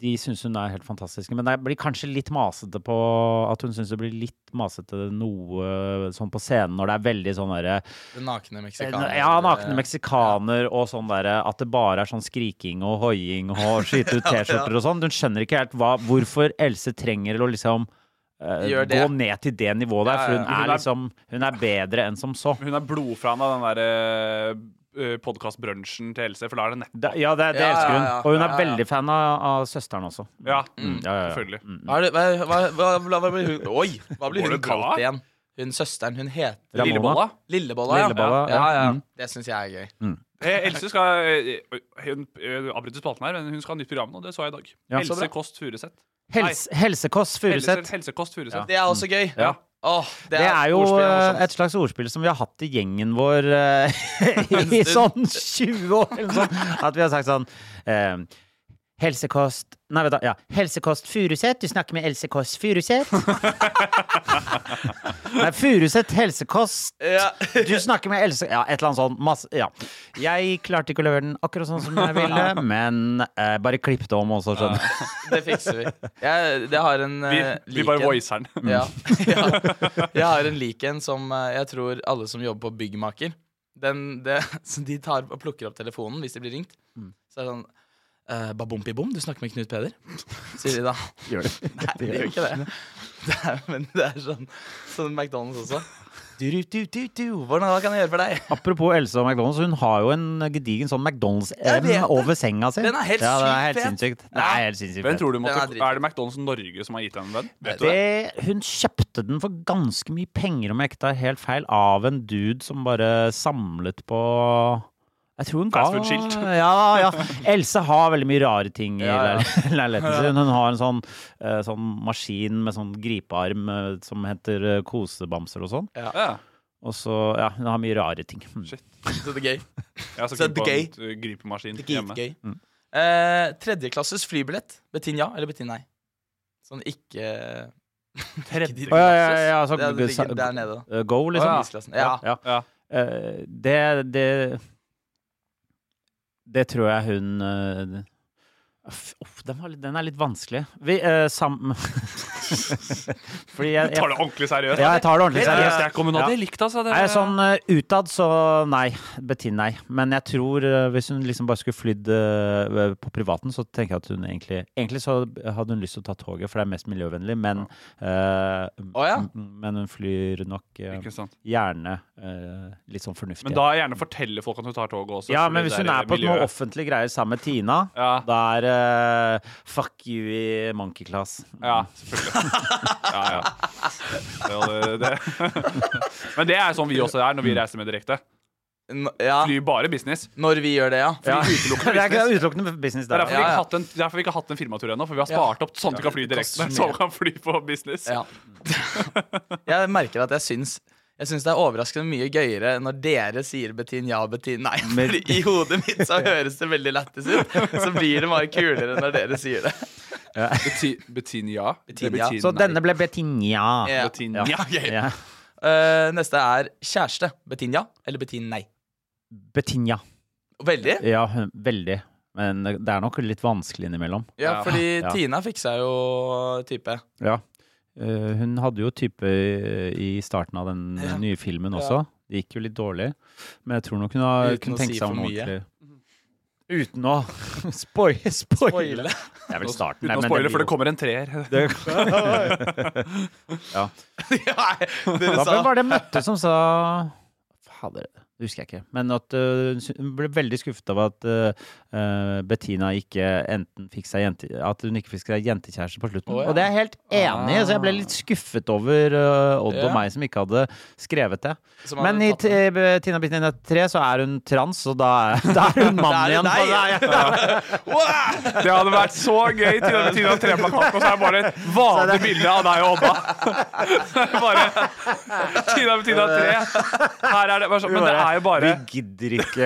C: de syns hun er helt fantastisk. Men det blir kanskje litt masete på At hun syns det blir litt masete noe sånn på scenen når det er veldig sånn derre
B: Den nakne meksikaner.
C: Ja, nakne meksikaner og sånn derre At det bare er sånn skriking og hoiing og skyte ut T-skjorter og sånn. Hun skjønner ikke helt hva, hvorfor Else trenger å liksom eh,
B: Gjør det.
C: Gå ned til det nivået der,
B: Ja,
C: for
B: ja.
C: hun
E: Hun
C: er
E: er-
C: liksom Hun er bedre enn som så.
E: Hun er blodfan av den derre uh, podkastbrunsjen til Else, for da er det neppe
C: Det, ja, det, det
B: Ja, ja,
C: elsker hun.
B: ja.
C: Og hun er
B: Ja, ja, ja.
C: veldig fan av, av søsteren også. Mm.
E: Ja,
C: ja, ja, ja.
E: selvfølgelig.
B: Hva, er det, hva, hva, hva, hva, hva blir hun Oi! Hva blir
E: Går
B: hun
E: det bra?
B: kalt igjen? Hun søsteren, hun heter
C: Ramona.
E: Lillebolla.
B: Lillebolla, ja.
C: Lillebolla,
B: ja,
C: ja.
B: ja.
C: Mm.
B: Det syns jeg er gøy.
E: Eh, Else skal eh, eh, Hun eh, avbryter spalten her, men hun skal ha nytt program nå. Det så jeg i dag.
C: Ja, så
E: Else
C: bra.
E: Kåss Furuseth.
C: Hels, helsekost Furuseth.
E: Helse, Helsekost Furuseth.
B: Det er også gøy.
E: Ja.
B: Åh, det,
C: Det er jo
B: ordspill er morsomt.
C: eh, et slags ordspill som vi har hatt i gjengen vår eh, i sånn 20 år, eller sånn. At vi har sagt sånn eh, Helsekost Nei, vet du, ja. Helsekost Furuseth. Du snakker med Else Kåss Furuseth. Nei, Furuseth helsekost. Du snakker med Else Ja, et eller annet sånt. Masse, ja. Jeg klarte ikke å levere den akkurat sånn som jeg ville, men eh, bare klipp det om også, skjønner du.
B: Det fikser vi. Jeg, det har en
E: Vi,
B: eh,
E: vi bare
B: lik en.
E: voicer den. Mm.
B: Ja, ja. Jeg har en lik en som eh, jeg tror alle som jobber på byggmaker den, det, så De tar og plukker opp telefonen hvis de blir ringt.
E: Mm.
B: Så er det sånn eh, Babompi-bom, du snakker med Knut Peder? Sier de da.
C: Gjør det.
B: Nei, de gjør ikke det. det er, men det er sånn, sånn McDonald's også. Du, du, du, du, du. Hvordan kan jeg gjøre for deg?
C: Apropos Else og McDonald's, hun har jo en gedigen sånn
B: Jeg vet
C: McDonald's-evne
B: det.
C: over senga si.
B: Den er helt
C: ja, den er
B: sykt
C: helt
B: fet.
C: sinnssykt. Den
B: Ja.
C: er helt sinnssykt
E: Hvem
C: fet.
E: tror du måtte,
B: Den er
E: Er det McDonald's Norge som har gitt den den? Vet du det?
C: Det, hun kjøpte den for ganske mye penger, om jeg ikke tar helt feil, av en dude som bare samlet på jeg tror hun ga
E: Fast food-skilt.
C: Ja, ja. Else har veldig mye rare ting i
B: Ja, ja.
C: leil- leiligheten sin. Hun har en sånn, eh, sånn maskin med sånn gripearm eh, som heter eh, kosebamser og sånn.
E: Ja.
C: Og så, ja, hun har mye rare ting. Mm.
B: Så det er gøy.
E: Jeg har så
B: Så
E: keen
B: det
E: på
B: er
E: en uh, gripemaskin
B: Det er
E: hjemme.
B: Dritgøy. Eh, tredjeklasses flybillett. Betin ja eller betin nei? Sånn ikke Tredjeklasses.
C: Å, ja, ja, ja, ja, så-
B: det, det ligger der nede, da.
C: Eh, Go, liksom.
E: Å, ja.
B: Prisklassen. Ja.
C: ja.
E: Ja.
C: Eh, det, det Det tror jeg hun eh, f- Uff, den, var, litt- den er litt vanskelig. Vi uh, sam... Fordi jeg,
E: Tar
C: jeg
E: det ordentlig seriøst.
C: Ja, jeg tar det ordentlig
E: Det er
C: seriøst.
E: sterk kommunal.
C: Ja.
E: Det er likt, altså. Det,
C: Nei, sånn eh, utad så nei. Betin nei. Men jeg tror eh, hvis hun liksom bare skulle flydd eh, på privaten, så tenker jeg at hun egentlig Egentlig så hadde hun lyst til å ta toget, for det er mest miljøvennlig, men eh,
B: Å, ja.
C: m- Men hun flyr nok eh,
E: Ikke sant.
C: gjerne eh, litt sånn fornuftig.
E: Men da gjerne fortelle folk at du tar toget også.
C: Ja,
E: fordi
C: men hvis
E: det i
C: hun er på
E: miljøet.
C: noen offentlige greier sammen med Tina,
E: Ja.
C: da er eh, fuck you i monkey class.
E: Ja, selvfølgelig. Ja, ja. Det, det, det. Men det er sånn vi også er når vi reiser med direkte.
B: N- ja.
E: Fly bare business.
B: Når vi gjør det, ja.
C: Ja.
E: Fly utelukkende
C: Det er ikke-
E: business.
C: det er utelukkende business
E: Det er
C: der.
E: derfor vi
B: Ja,
E: ikke
B: ja.
E: har hatt en, derfor vi ikke har hatt en firmatur ennå, for vi har spart opp sånn at vi kan fly direkte.
B: koster
E: Så vi kan fly på business.
B: ja. Jeg merker at jeg syns jeg syns det er overraskende mye gøyere når dere sier Betin ja og Betin nei.
C: Men-
B: Fordi I hodet mitt så høres det veldig lættis ut. Så blir det bare kulere når dere sier det.
E: Betinia.
B: Betinia.
C: Så denne ble Betinja.
B: Ja.
E: Betinia.
B: Ja, gøy.
C: Ja.
B: Eh, neste er kjæreste. Betin ja eller Betin nei?
C: Betinja.
B: Veldig.
C: Ja, hun- veldig. Men det er nok litt vanskelig innimellom.
B: Ja,
E: Ja.
B: fordi
C: Ja.
B: Tina fiksa jo type.
C: Ja. Eh, hun hadde jo type i i starten av den nye filmen også. Det gikk jo litt dårlig, men jeg tror nok hun har
B: Uten
C: kunne
B: å
C: tenke
B: si
C: seg om
B: for mye.
C: ordentlig. Uten å spoile spoile.
B: Spoile.
C: Det er vel starten.
E: Uten å spoile, for det kommer en treer.
B: Nei,
C: Det
B: dere
C: var, hvem
B: sa
C: var det jeg møtte som sa Fader, det husker jeg ikke. Men at øh, hun sy- hun ble veldig skuffet av at øh, øh, Bettina ikke enten fikk seg jente, at hun ikke fikk seg jentekjæreste på slutten.
B: Å, ja.
C: Og det er jeg helt enig i, så jeg ble litt skuffet over øh, Odd
B: Ja.
C: og meg som ikke hadde skrevet det.
B: Som hadde
C: Men i
B: tatt
C: t eh, Tina Bettina 3 så er hun trans, og da er, da er hun mann
B: Da er
C: igjen.
B: hun
C: på-
B: deg.
C: da er jeg-
B: Wow!
E: Det hadde vært så gøy til den tiden av treplakaten, og så er det bare et vanlig bilde av deg og Odda. Bare Tina med Tina 3. Her er det, bare sånn- men det er er jo bare
C: Vi gidder ikke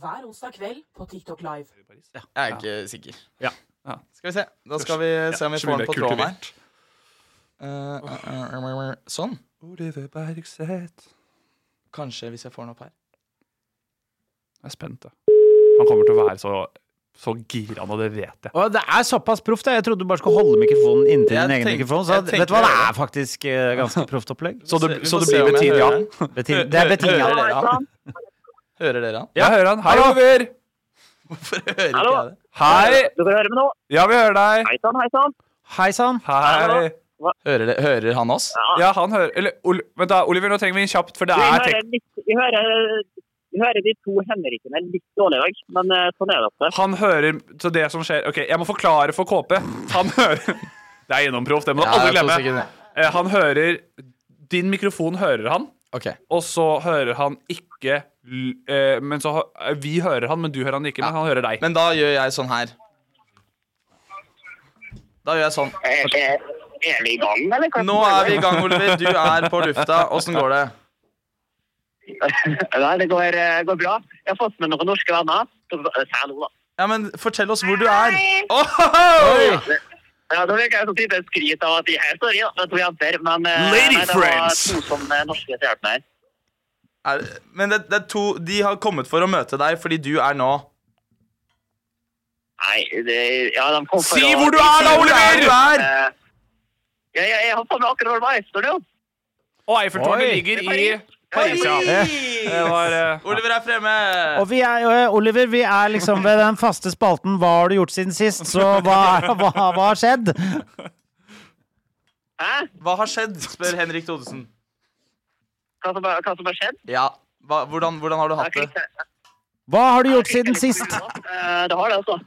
D: hver onsdag kveld på TikTok Live.
B: Jeg er ikke sikker.
C: Ja.
E: Ja.
B: Skal vi se. Da skal vi se om vi
E: så
B: får
E: blir
B: den på
E: det
B: tråden her.
E: kultivert.
B: Eh, eh, eh, eh, eh, Sånn.
E: Oliver Bergseth.
B: Kanskje hvis jeg får den opp her.
E: Jeg er spent, jeg. Han kommer til å være så, så gira nå, det vet jeg.
C: Og det er såpass proft. da. Jeg trodde du bare skulle holde mikrofonen inntil
B: Jeg
C: din egen
B: tenk-
C: mikrofon. Så
B: jeg
C: vet du hva, det
B: tenker
C: er faktisk eh, ganske proft opplegg.
E: Så det,
B: Vi får
E: så det
B: se
E: blir
B: om jeg
E: Bettina.
B: hører den.
C: Betin, det er
B: Hører
C: betinga.
B: dere han? Hører dere han?
E: Jeg hører han. Hei, Oliver!
B: Hvorfor hører ikke
F: Hallo?
B: jeg det?
E: Hei!
F: Du kan høre meg nå.
E: Ja, vi hører deg.
F: Hei sann, hei sann.
C: Hei sann.
E: Hei.
B: Hører, det, hører han oss?
E: Ja, han hører Eller, Ol vent da, Oliver, nå trenger vi en kjapt, for det
F: Vi,
E: er
F: hører
E: tek
F: litt- vi, hører- vi hører de to Henrikene litt dårlig i dag, men eh, sånn er det ofte.
E: Han hører Så det som skjer OK, jeg må forklare for KP. Han hører Det er gjennomproft, det må du aldri
B: Ja, to
E: glemme.
B: sekunder.
E: Eh, Han hører Din mikrofon hører han,
B: OK.
E: og så hører han ikke l- eh, Men så hø- eh, Vi hører han, men du hører han ikke, men han hører deg.
B: Men da gjør jeg sånn her. Da gjør jeg sånn.
F: Er, vi i gang, eller?
B: Nå er vi i gang, Oliver. Du er på lufta. Åssen går det?
F: Nei, det går, eh, går bra. Jeg har fått med noen norske venner. Hallo, da.
B: Ja, men fortell oss hvor du er.
F: Oi. Ja, da fikk jeg sånn type skryt av at de her står i, da. Det er to jenter, men eh,
E: Lady
F: nei, det var
E: friends.
F: to som eh, norske til hjelp meg.
B: Er, men det, det er to De har kommet for å møte deg fordi du er nå
F: Nei, det, ja, de kom for
E: Si
F: å-
E: hvor du er, da, Oliver!
F: Eh, Ja, jeg, jeg har fått med akkurat hvor jeg står nå.
E: Og Eiffeltårnet
C: Oi.
E: ligger i
F: Paris.
E: Paris, ja. Det var eh,
B: Oliver er fremme!
C: Og vi er, eh, Oliver, vi er liksom ved den faste spalten 'Hva har du gjort siden sist?' Så hva, er- hva, hva har skjedd?
F: Hæ?
B: Hva har skjedd? spør Henrik Thodesen.
F: Hva som, har- hva som har skjedd?
B: Ja. Hva, hvordan, hvordan har du hatt det?
C: Hva har du gjort siden sist?
F: Eh, det har det, altså.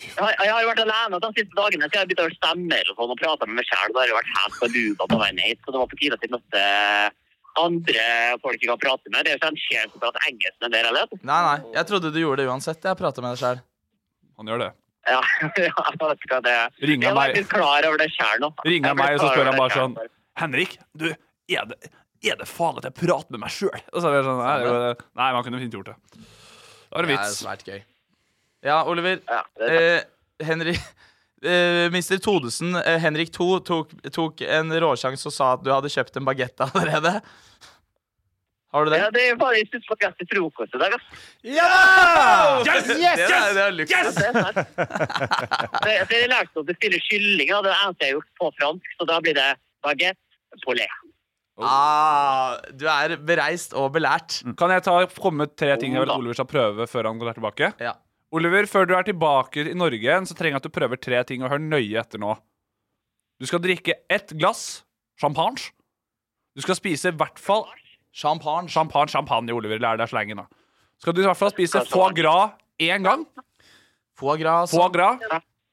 F: Jeg har, jeg har jo vært alene de siste dagene, så jeg har begynt å høre stemmer og sånn, og prata med meg sjæl. Da har jeg vært helt forbuda på veien hit, så det var på tide at jeg møtte eh, andre folk jeg kan prate med. Det er jo sånn ikke en sjel som prater engelsk med dere, eller?
B: Nei, nei. Jeg trodde du gjorde det uansett. Jeg prater med deg sjæl.
E: Han gjør det.
F: Ja, ja, jeg vet ikke hva det er.
E: Ringer
F: Jeg
E: meg-
F: var ikke klar over det sjæl nå.
E: Ringer
F: Jeg
E: han
F: ble
E: meg, og så
F: klar
E: spør
F: over
E: han
F: det
E: bare
F: selv.
E: sånn Henrik, du, er det, er det faen at jeg prater med meg sjøl? Og så er jeg sånn, nei, det er jo- nei, men han kunne fint gjort det. Det var en
B: Det er
E: vits.
B: svært gøy. Ja, Oliver. eh, Henry eh, Mr. Todesen, eh, Henrik 2, tok, tok en råsjanse og sa at du hadde kjøpt en bagett allerede. Har du det?
F: Ja, det er bare jeg synes på til frokost i dag, ass.
B: Ja!
F: Yes!
B: Det er- Yes! det er luksus.
F: Yes! Det er sant. Det, eh, det er lært opp til å spille kylling, og det er det eneste jeg har gjort på fransk, så da blir det baguette polé.
B: Ah, du er bereist og belært.
E: Kan jeg ta, komme med tre
F: Oh,
E: ting jeg vil at Oliver skal prøve før han går tilbake? Oliver, før du er tilbake i Norge igjen, så trenger jeg at du prøver tre ting og hør nøye etter nå. Du skal drikke ett glass champagne. Du skal spise i hvert fall
B: Champagne.
E: Champagne, champagne, Oliver. Lær deg slangen, da. Skal du i hvert fall spise foie gras én gang?
B: Foie gras.
E: Foie gras.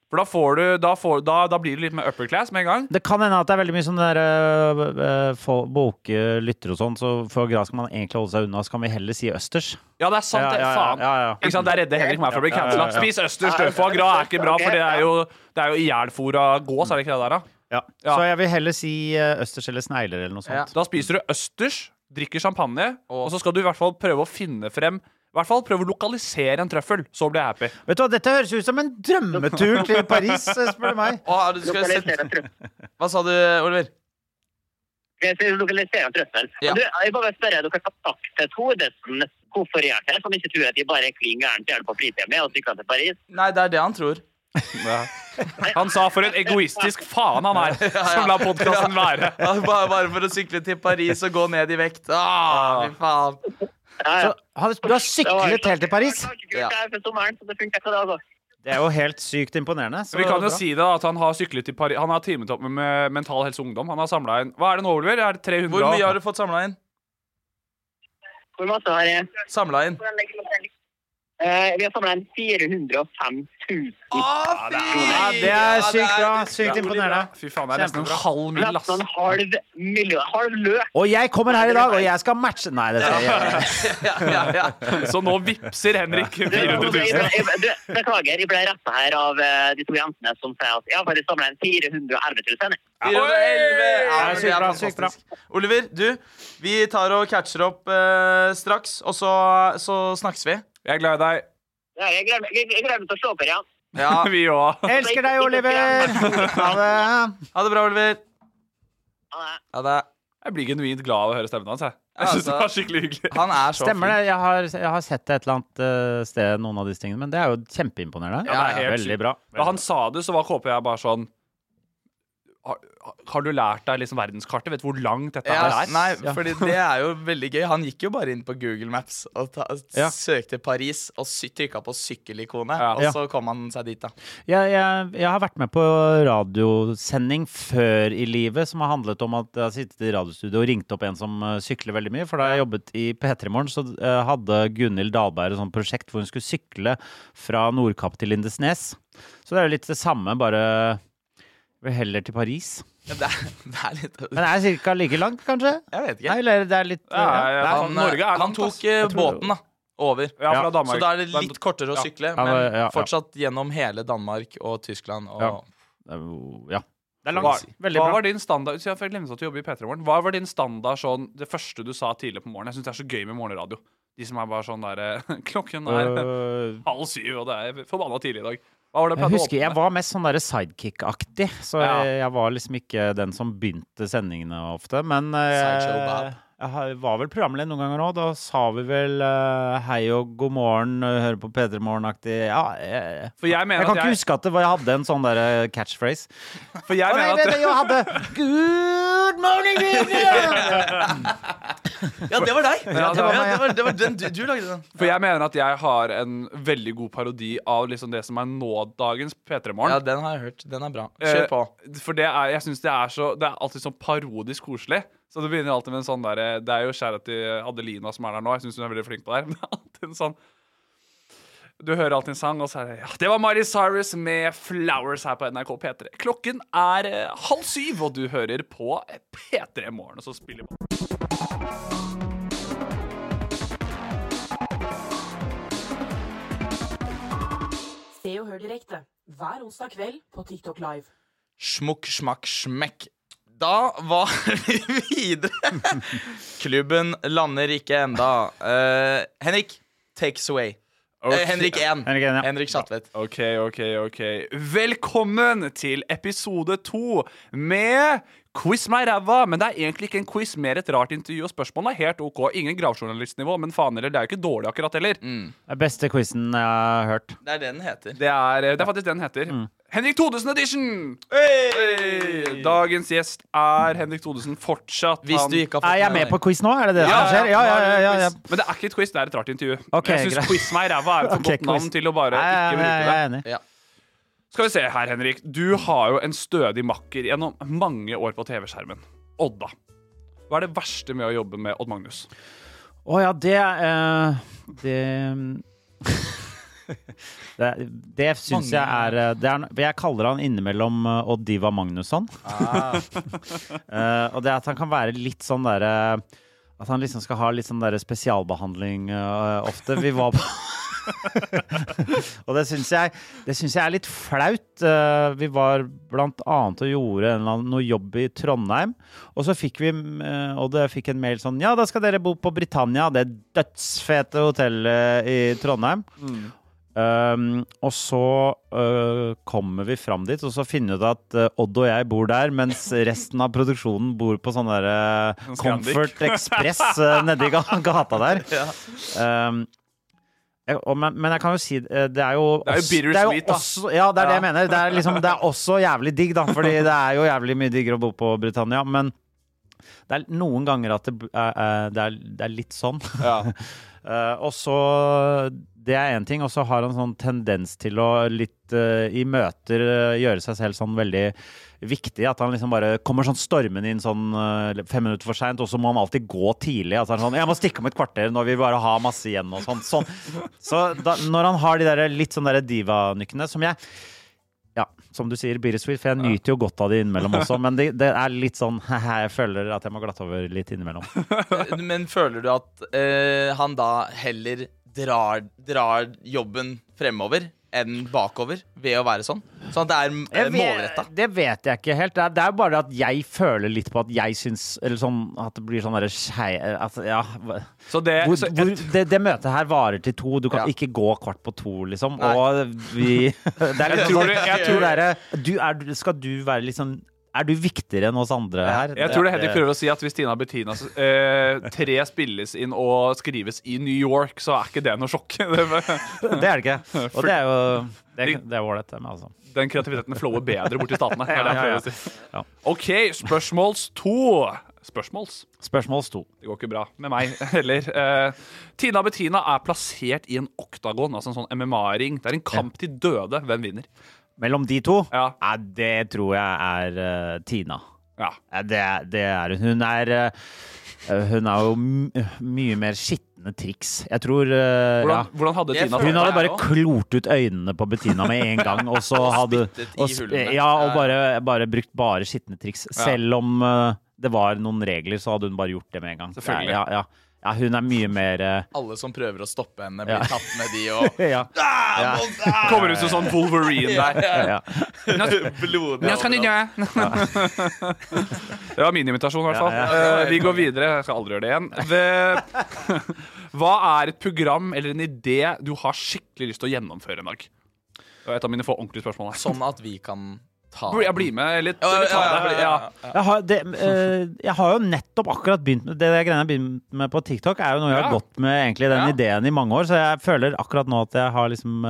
E: For da, får du, da, får, da, da blir du litt mer upper class med en gang.
C: Det kan hende at det er veldig mye sånn der eh, fol- boke lytter og sånn, så for gras skal man egentlig holde seg unna, så kan vi heller si østers.
E: Ja, det er sant,
C: Ja,
E: det.
C: ja, ja,
E: Faen.
C: ja, ja.
E: Ikke sant, Der redder Henrik meg for å bli
C: Ja, ja,
E: cancela.
C: ja, ja.
E: Spis østers, død foie gras er ikke bra, for det er jo, det er jo ihjelfôra gås, er det ikke det der, da?
C: Ja. Så jeg vil heller si eh, østers eller snegler eller noe sånt.
E: Da spiser du østers, drikker champagne, og så skal du i hvert fall prøve å finne frem I hvert fall prøve å lokalisere en trøffel. Så blir jeg happy.
C: Vet du hva, Dette høres ut som en drømmetur til Paris, eh, spør du meg.
B: Å, du skal sette... Hva sa du, Oliver?
F: Jeg skal lokalisere en trøssel.
B: Ja.
F: Du, jeg bare vil spørre, dere har sagt til Tordesen hvorfor jeg er her, som ikke tror at de bare er klin gærent til på fritiden med og sykler til Paris.
B: Nei, det er det han tror.
E: Han sa for en egoistisk faen han er,
B: Ja, ja.
E: som la podkasten være.
B: Ja, bare, bare for å sykle til Paris og gå ned i vekt. Ah, fy faen.
C: Så, har du, du har syklet helt til Paris?
F: Kult det er for sommeren, så det funker ikke da, altså.
C: Det er jo helt sykt imponerende. så
E: Vi kan jo
C: bra.
E: si det da, at Han har syklet til Paris Han har teamet opp med- med Mental Helse Ungdom. Han har samlet inn Hva er det nå, Oliver? Er det 300
B: Hvor mye har du fått samla inn?
F: Hvor masse har jeg?
B: Samla inn.
F: Eh, vi har samlet inn 405 000.
B: Å,
C: Ja, det er sykt bra. Sykt imponerende.
E: Fy faen, det er nesten en
C: Kjempebra.
E: halv mil, ass.
F: Nesten en halv million, halv løk.
C: Og jeg kommer her i dag, og jeg skal matche Nei, det skal jeg ikke.
E: Så nå vipser Henrik 400
F: Jeg-
E: 000.
F: jeg- jeg- du, Beklager, jeg ble retta her av eh, de to jentene som sier at jeg har faktisk samla inn 411 000. jeg.
B: 411. Ja,
F: Ja,
B: men
F: sykt
B: det er
F: bra,
B: fantastisk.
F: sykt bra.
B: Oliver, du, vi tar og catcher opp eh, straks, og så, så snakkes vi.
E: Jeg er glad i deg.
F: Ja, Jeg glemte jeg- jeg glemte å slå opp her, ja.
B: Ja.
E: Vi òg.
C: Elsker deg, Oliver! Ha det.
B: Ha det bra, Oliver. Ha det.
E: Jeg blir genuint glad av å høre stemmen hans. Jeg, jeg synes det
B: Altså,
E: var skikkelig hyggelig.
B: Han er så
C: Stemmer det.
B: fin.
C: Jeg har, jeg har sett det et eller annet eh, sted, noen av disse tingene, men det er jo kjempeimponerende.
E: Ja, det er helt
C: Veldig
E: sykt.
C: bra.
E: Da han sa det, så var KP jeg bare sånn har, har du lært deg liksom verdenskartet? Vet du hvor langt dette her
B: Ja,
E: er?
B: nei,
E: Ja.
B: fordi det er jo veldig gøy. Han gikk jo bare inn på Google Maps og ta,
C: Ja.
B: søkte Paris og sy- trykka på sykkelikonet, og
C: Ja.
B: så kom han seg dit, da.
C: Jeg, jeg, jeg har vært med på radiosending før i livet som har handlet om at jeg har sittet i radiostudio og ringt opp en som eh, sykler veldig mye. For da jeg jobbet i P3 Morgen, så eh, hadde Gunhild Dahlberg et sånt prosjekt hvor hun skulle sykle fra Nordkapp til Lindesnes. Så det er jo litt det samme, bare eh, vi heller til Paris.
B: Ja, det, er, det er litt
C: Men det er ca. like langt, kanskje?
B: Jeg vet ikke.
C: Nei, eller det er litt eh,
E: Ja,
C: ja.
E: ja,
B: Han,
E: faen, Norge er
B: han
E: langt, ass.
B: tok eh,
E: Jeg tror det.
B: båten, da. Over.
E: Ja, fra
C: Ja.
E: Danmark.
B: Så da er det litt kortere å
E: Ja.
B: sykle,
C: Ja,
B: men
C: men- ja, ja.
B: fortsatt gjennom hele Danmark og Tyskland og
C: Ja. Det er jo- Ja. Det er
E: Hva,
C: langt. Veldig
E: hva
C: bra.
E: var din standard så Jeg glemte at du jobber i P3 Morgen. Hva var din standard sånn det første du sa tidlig på morgenen? Jeg syns det er så gøy med morgenradio. De som er bare sånn der eh, Klokken er
C: Øh.
E: halv syv, og det er forbanna tidlig i dag. Hva var det
C: Jeg
E: pleide å
C: husker jeg
E: åpne?
C: var mest sånn der sidekick-aktig, så
E: Ja.
C: jeg, jeg var liksom ikke den som begynte sendingene ofte. Men eh,
B: Sideshow Bob.
C: jeg har- var vel programleder noen ganger òg. Da sa vi vel eh, hei og god morgen, eh, hører på P3 Morgen-aktig. Ja, jeg,
E: For jeg mener
C: jeg kan
E: at
C: ikke
E: jeg-
C: huske at det var, jeg hadde en sånn der eh, catchphrase.
E: For jeg
C: Å, nei,
E: mener
C: det, det,
E: at
C: jeg hadde Good morning, Vivian!
B: Ja, det var deg!
E: Ja, det var meg, ja.
B: ja, det var, det var den, du, du lagde den.
E: For jeg mener at jeg har en veldig god parodi av liksom det som er nådagens P3 Morgen.
B: Ja, den har jeg hørt. Den er bra.
E: Eh,
B: Kjør på.
E: For det er, jeg synes det er så Det er alltid sånn parodisk koselig. Så det begynner alltid med en sånn der eh, Det er jo kjære til Adelina som er der nå. Jeg syns hun er veldig flink på det her. Men det er alltid en sånn du hører alltid en sang, og så er det ja, Det var Miley Cyrus med 'Flowers' her på NRK P3. Klokken er eh, halv syv, og du hører på eh, P3 Morgen. Og så spiller
D: Se og hør direkte hver onsdag kveld på TikTok Live.
B: Smukk, smakk, smekk. Da var vi videre. Klubben lander ikke enda. Eh, Henrik, takes away. Eh,
E: Ok.
B: Henrik 1. Henrik Schatvedt.
E: OK, OK, OK. Velkommen til episode to med Quiz meg ræva. Men det er egentlig ikke en quiz, mer et rart intervju, og spørsmålene er helt OK. Ingen gravjournalistnivå, men faen heller, det er jo ikke dårlig akkurat heller.
C: Det er beste quizen jeg har hørt.
B: Det er det den heter.
E: Det er, det er faktisk det den heter. Henrik Thodesen edition! Hey! Dagens gjest er Henrik Thodesen fortsatt.
C: Hvis
E: han-
C: du ikke har fått Er jeg med med deg. på quiz nå? Er det det som skjer? Ja, ja, ja, ja, ja.
E: Men det er ikke et quiz, det er et rart intervju.
C: Ok,
E: jeg
C: greit.
E: syns Quiz meg ræva er et for
C: Ok,
E: godt navn
C: quiz.
E: til å bare
C: Ja, ja,
E: ikke
C: men jeg-
E: bruke det.
C: jeg er enig.
B: Ja.
E: Skal vi se her, Henrik. Du har jo en stødig makker gjennom mange år på TV-skjermen. Odda. Hva er det verste med å jobbe med Odd Magnus?
C: Å ja, det eh, Det Det, det syns jeg er, eh, det er Jeg kaller han innimellom eh, Odd Diva Magnusson.
G: Ah.
C: Eh, og det er at han kan være litt sånn derre At han liksom skal ha litt sånn derre spesialbehandling eh, ofte. Vi var på Og det syns jeg, det syns jeg er litt flaut. Eh, vi var blant annet og gjorde en eller annen, noe jobb i Trondheim, og så fikk vi eh, Og det fikk en mail sånn Ja, da skal dere bo på Britannia, det dødsfete hotellet i Trondheim.
G: Mm.
C: Um, og så øh, kommer vi fram dit, og så finner vi ut at øh, Odd og jeg bor der, mens resten av produksjonen bor på sånn derre
G: Sånn Scandic.
C: Comfort Express uh, nedi ga gata der. Um, jeg, og, men, men jeg kan jo si eh, Det er jo
E: Det er jo
C: oss-
E: bitter
C: det er jo
E: sweet, da.
C: også- Ja, det er det jeg
E: Ja.
C: mener. Det er, liksom, det er også jævlig digg, da, fordi det er jo jævlig mye diggere å bo på Britannia. Men det er noen ganger at det, b- eh, eh, det, er, det er litt sånn. Eh, og så Det er én ting, og så har han sånn tendens til å litt eh, i møter eh, gjøre seg selv sånn veldig viktig. At han liksom bare kommer sånn stormende inn sånn eh, fem minutter for seint, og så må han alltid gå tidlig. At han er sånn 'Jeg må stikke om et kvarter, nå vil vi bare ha masse igjen', og sånn. sånn. Så da, når han har de der litt sånn derre divanykkene, som jeg ja, som du sier, bittersweet, for jeg nyter jo godt av det innimellom også. Men det, det er litt sånn Jeg føler at jeg må glatte over litt innimellom.
B: Men føler du at eh, han da heller drar, drar jobben fremover enn bakover ved å være sånn? Sånn at det er eh,
C: Jeg
B: målretta?
C: vet, det vet jeg ikke helt. Det er, det er bare at jeg føler litt på at jeg syns Eller sånn at det blir sånn derre skei... At, ja. hva-
E: Så det-
C: hvor,
E: så et-
C: hvor, det, det møtet her varer til to. Du kan ikke gå kvart på to, liksom. Og vi Det er
E: Jeg
C: litt
E: tror
C: sånn
E: det- jeg
C: du
E: tror-
C: er- eh, du, er, du- Skal du være litt sånn Er du viktigere enn oss andre her? Eh,
E: Jeg tror det Henrik prøver å si at hvis Tina Bettinas eh, tre spilles inn og skrives i New York, så er ikke det noe sjokk. det
C: Det er det ikke. Og det er jo Det er- det er ålreit, det med, altså.
E: Den kreativiteten flower bedre borti statene. er det jeg
C: Ja, ja, ja.
E: prøver å si. OK, spørsmåls to. Spørsmåls?
C: Spørsmåls to.
E: Det går ikke bra med meg heller. Eh, Tina Bettina er plassert i en oktagon, altså en sånn MMA-ring. Det er en kamp til døde. Hvem vinner?
C: Mellom de to? Ja. det tror jeg er eh, Tina.
E: Ja.
C: det, er- det er hun. Hun er eh, hun er jo m mye mer skitne triks. Jeg tror eh,
E: Hvordan-
C: ja.
E: hvordan hadde Det Tina føler
C: Hun hadde
E: jeg
C: bare
E: også.
C: klort ut øynene på Bettina med en gang. Og så
E: Og
C: hadde
E: spyttet i
C: og sp-
E: hullene.
C: Ja,
E: Ja, ja.
C: og bare, bare brukt bare skitne triks.
E: Ja.
C: Selv om eh, det var noen regler, så hadde hun bare gjort det med en gang.
B: Selvfølgelig.
C: Ja, ja, ja. ja hun er mye mer eh,
B: Alle som prøver å stoppe henne, blir
C: Ja.
B: tatt med de og
C: ja.
B: Ah,
C: Ja.
B: må- ah!
E: Kommer ut som sånn Wolverine der.
B: Ja, ja.
E: Nå-
B: Blodig
E: Nå skal du dø!
B: overalt.
E: Det var min invitasjon, i hvert fall.
B: Ja, ja.
E: Eh, vi går videre. Jeg skal aldri gjøre det igjen. Ve- Hva er et program eller en idé du har skikkelig lyst til å gjennomføre en dag? Det var et av mine få ordentlige spørsmål. her.
B: Sånn at vi kan ta
E: Blir- Jeg blir med litt.
B: Ja, ja,
E: eller ta det,
B: ja, ja,
E: fordi-
B: ja,
E: ja.
C: Jeg har, det, eh, jeg har jo nettopp akkurat begynt med Det der greiene jeg begynte med på TikTok, er jo noe jeg har
E: Ja.
C: gått med egentlig den ideen i mange år. Så jeg føler akkurat nå at jeg har liksom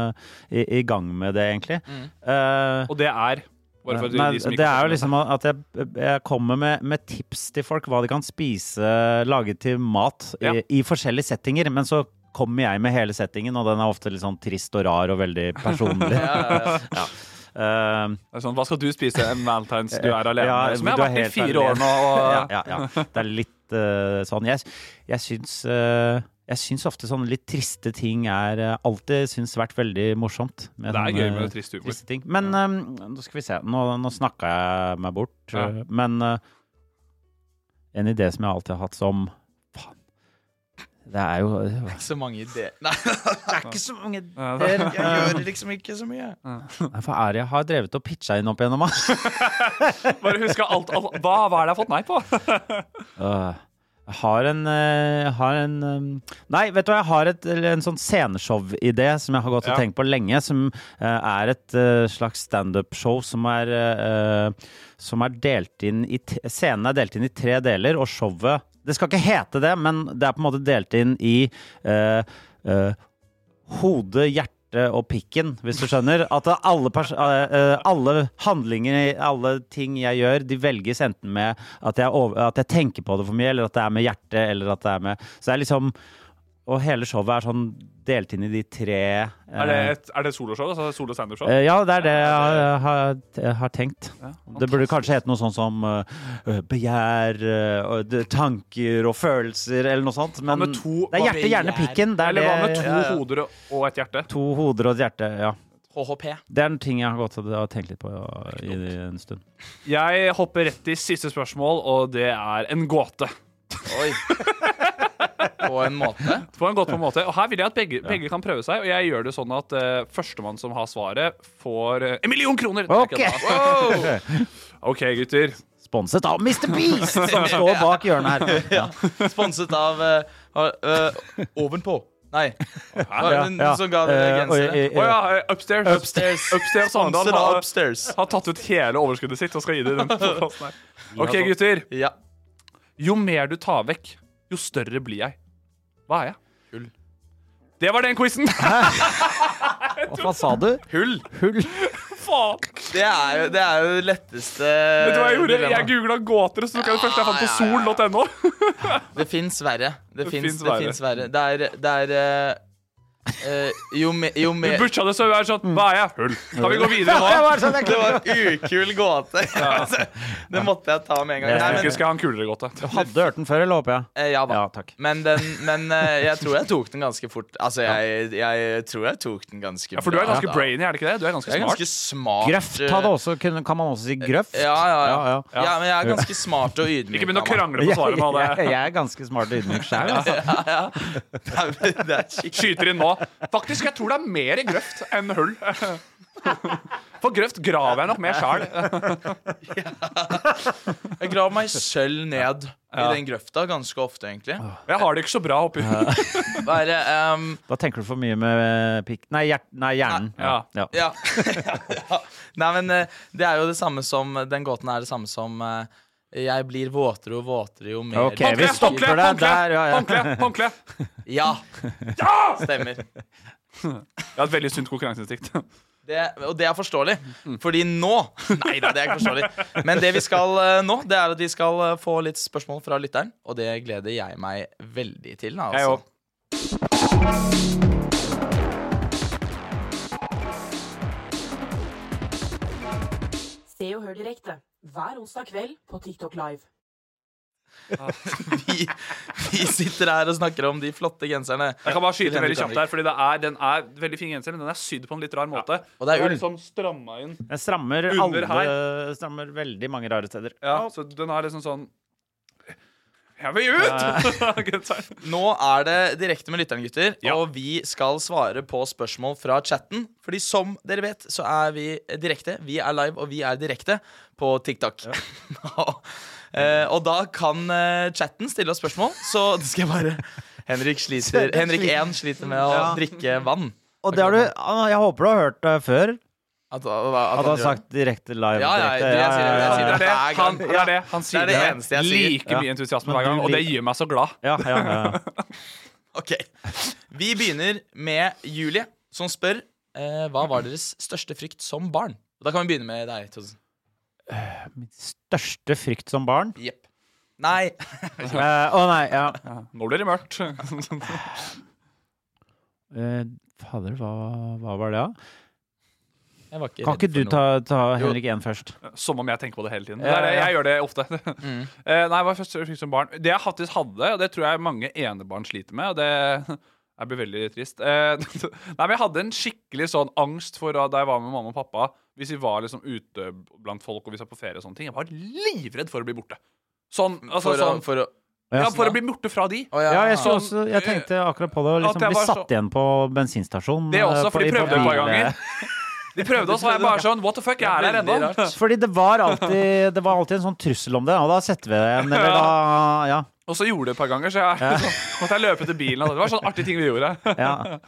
C: eh, i, i gang med det, egentlig.
E: Mm.
C: Eh,
E: Og det er Bare for
C: Nei,
E: de som ikke
C: det er jo
E: skjønner.
C: liksom at jeg, jeg kommer med, med tips til folk hva de kan spise, lage til mat, i, i forskjellige settinger. Men så kommer jeg med hele settingen, og den er ofte litt sånn trist og rar og veldig personlig. Eh,
E: Ja, ja, ja.
C: Ja.
E: det er sånn, Hva skal du spise en valentines du er alene?
C: Ja,
E: som jeg
C: du
E: har
C: er
E: vært i
C: helt
E: fire
C: alene.
E: år nå. Og...
C: ja, ja, ja. Det er litt eh, sånn Jeg, jeg syns eh, jeg syns ofte sånne litt triste ting er eh, alltid syns vært veldig morsomt. med
E: Det er
C: sånne,
E: gøy med
C: eh,
E: trist humor.
C: triste ting. Men eh, nå skal vi se. Nå, nå snakka jeg meg bort.
E: Ja.
C: eh, Men eh, en idé som jeg alltid har hatt som Faen. Det er jo
B: Det er ikke så mange ideer. Nei, det er ikke så mange
C: Ja,
B: ideer.
C: det-
B: Jeg gjør liksom ikke så mye.
C: Nei, Hva er det jeg har drevet og pitcha inn opp igjennom? da?
E: Bare husk alt, alt hva, hva er det jeg har fått nei på?
C: Øh, Jeg har en, eh, jeg har en ehm, Nei, vet du hva, jeg har et, eller en sånn sceneshow-idé som jeg har gått og
E: Ja.
C: tenkt på lenge, som eh, er et eh, slags standup-show som er eh, eh, som er delt inn i t Scenen er delt inn i tre deler, og showet Det skal ikke hete det, men det er på en måte delt inn i eh, eh, hodet, hjertet og pikken, hvis du skjønner. At alle, pers eh, eh, alle handlinger, alle ting jeg gjør, de velges enten med at jeg, over at jeg tenker på det for mye, eller at det er med hjertet, eller at det er med Så det er liksom Og hele showet er sånn delt inn i de tre eh,
E: Er det, et, er det et soloshow? Altså solo standup-show?
C: eh, ja, det er det jeg har, har, har tenkt.
E: Ja,
C: det burde kanskje hete noe sånn som eh, begjær, eh, og det- tanker og følelser, eller noe sånt. Men
E: med to-
C: det er
E: hva
C: hjerte, hjerne,
E: begjær?
C: pikken. Det er
E: Eller hva med
C: det-
E: to
C: Ja, ja.
E: hoder og- og et hjerte?
C: To hoder og et hjerte, ja.
B: HHP.
C: Det er en ting jeg har gått og og tenkt litt på ja, i en stund.
E: Jeg hopper rett til siste spørsmål, og det er en gåte.
B: Oi. På en måte?
E: På en godt på en måte. Og her vil jeg at begge, begge kan prøve seg, og jeg gjør det sånn at eh, førstemann som har svaret, får eh, en million kroner! Nei,
C: Ok.
E: kødda. Wow! OK, gutter.
C: Sponset av Mr. Beast, som står bak hjørnet her. Ja.
B: Sponset av eh, eh, Ovenpå. Nei. Hva
C: Ja,
B: er det
C: ja.
B: som ga dere
C: Eh, oi,
B: gensere?
C: oi, oi.
E: Å ja, eh, upstairs.
B: Upstairs.
E: upstairs
B: Sponset
E: Sogndal
B: av
E: har,
B: Upstairs.
E: har tatt ut hele overskuddet sitt og skal gi det i den podcasten her. OK,
B: Ja, da.
E: gutter.
B: Ja.
E: Jo mer du tar vekk, jo større blir jeg. Hva er jeg? Hull. Det var den quizen!
C: Hva sa du?
B: Hull.
C: Hull.
E: Faen!
B: Det er jo det er jo det letteste
E: Vet du hva jeg gjorde?
B: dilemma.
E: Jeg googla gåter, og så tok jeg det første jeg fant på
B: Ja, ja, ja.
E: sol.no.
B: Det fins verre. Det
E: Det
B: fins
E: finnes
B: det
E: verre.
B: finnes verre. Det er, det er eh, eh, Jo mer Jo
E: Du
B: mer
E: butcha det så jeg er sånn Hva er jeg? Hull. Kan vi gå videre
C: Eh, Mm. Ja, jeg
E: nå?
C: var sånn, jeg-
B: Det var en ukul gåte. Altså, det måtte jeg ta med en gang.
C: Ja.
B: Nei,
E: Jeg
B: men,
E: skal ha en kulere gåte.
C: Hadde hørt den før, eller håper jeg?
B: eh, ja da.
C: Ja, takk.
B: Men, den, men eh, jeg tror jeg tok den ganske fort. Altså, jeg, jeg tror jeg tok den ganske
E: Ja, for du er
B: bra,
E: ganske
B: da.
E: brainy, er det ikke det? Du er ganske
B: Jeg er
E: smart.
B: ganske smart. eh,
C: Grøft hadde også, kunne, kan man også si grøft?
B: ja ja, ja,
C: Ja, ja.
B: Ja, men jeg er ganske smart og ydmyk.
E: Ikke begynn å
B: av meg.
E: krangle på
C: Jeg,
E: svaret nå.
C: jeg,
E: Det.
C: jeg er ganske smart og ydmyk sjøl, altså.
B: Ja, ja. Nei, men Det er skikkelig
E: Skyter inn nå. Faktisk, jeg tror det er mer grøft enn hull. For grøft graver jeg nok mer sjæl.
B: Jeg graver meg selv ned i den grøfta ganske ofte, egentlig.
E: Jeg har det ikke så bra oppi
B: Bare ehm,
C: Da tenker du for mye med eh, pikk Nei, hjert, nei hjernen.
E: Ja.
C: Ja.
B: Ja. ja. Nei, men eh, det er jo det samme som Den gåten er det samme som eh, Jeg blir våtere og våtere jo mer
C: Ok, vi stopper det
E: håndkle,
C: der. Ja, ja.
E: håndkle, håndkle.
B: Ja! Stemmer.
E: Jeg har et veldig sunt konkurranseinstinkt.
B: Det, og det er forståelig, fordi nå Nei da, det er ikke forståelig. Men det vi skal eh, nå, det er at vi skal eh, få litt spørsmål fra lytteren, og det gleder jeg meg veldig til. da,
E: Jeg
B: Altså.
E: òg.
D: Se og hør direkte hver onsdag kveld på TikTok Live.
B: Vi, vi sitter her og snakker om de flotte genserne.
E: Jeg kan bare skyte inn veldig kjapt der, fordi det er, den er veldig fin genser, men den er sydd på en litt rar måte.
B: Og det er
E: Den
B: ull.
E: liksom stramma inn.
C: Jeg strammer
E: Under
C: alle Strammer veldig mange rare steder.
E: Ja, så den er liksom sånn Jeg vil ut! Genseren.
B: Nå er det direkte med lytteren, gutter. Og vi skal svare på spørsmål fra chatten. Fordi som dere vet, så er vi direkte. Vi er live, og vi er direkte på TikTok. Eh, og da kan eh, chatten stille oss spørsmål, så det skal jeg bare Henrik sliter Henrik 1 sliter med å
C: Ja.
B: drikke vann.
C: Og det har du ah, Jeg håper du har hørt det før.
B: At, at, at
C: At du
B: han
C: har
B: gjør det.
C: sagt direkte live.
B: Ja, ja,
C: direkte.
B: det jeg sier, det jeg
E: Det
B: sier
E: er det han,
B: hver gang.
E: det er det. han sier.
B: Det er det eneste jeg sier.
E: Like mye
C: Ja.
E: entusiasme
C: Men
E: hver gang,
C: du
E: og det
C: lik-
E: gjør meg så glad.
C: Ja, ja, ja.
B: Ok, Vi begynner med Julie, som spør eh, hva var deres største frykt som barn. Da kan vi begynne med deg. Tosen.
C: min største frykt som barn.
B: Jepp. Nei.
C: Eh, Å nei, ja.
E: Nå blir det mørkt.
C: Eh, fader, hva, hva var det, da?
E: Jeg var ikke
C: kan
E: redd
C: ikke
E: for
C: du
E: noe.
C: ta, ta
E: Jo.
C: Henrik 1 først?
E: Som om jeg tenker på det hele tiden.
C: Ja,
E: Det er-
C: ja.
E: Jeg gjør det ofte.
C: Mm.
E: Eh, Nei, hva først jeg fikk som barn Det jeg faktisk hadde, og det tror jeg mange enebarn sliter med, og det jeg blir veldig trist. Eh, Nei, men Jeg hadde en skikkelig sånn angst for at da jeg var med mamma og pappa Hvis vi var liksom ute blant folk og vi var på ferie og sånne ting Jeg var livredd for å bli borte. Sånn, altså,
B: For å-
E: sånn,
B: for å-
E: ja,
B: Ja.
E: for å bli borte fra de.
C: ja. jeg, så også, jeg tenkte akkurat på det. å
E: At
C: Liksom,
E: jeg
C: bli
E: var så-
C: satt igjen på bensinstasjonen.
E: Det også,
C: eh,
E: for de
C: i- på
E: prøvde et par
C: bil-
E: ganger. De prøvde oss, og jeg bare sånn What the fuck, jeg er her ennå.
C: Fordi det var, alltid, det var alltid en sånn trussel om det, og da setter vi det igjen, eller da Ja.
E: Og så gjorde det et par ganger, så jeg, sånn- måtte jeg løpe til bilen. og Det var sånn artige ting vi gjorde.
C: Ja.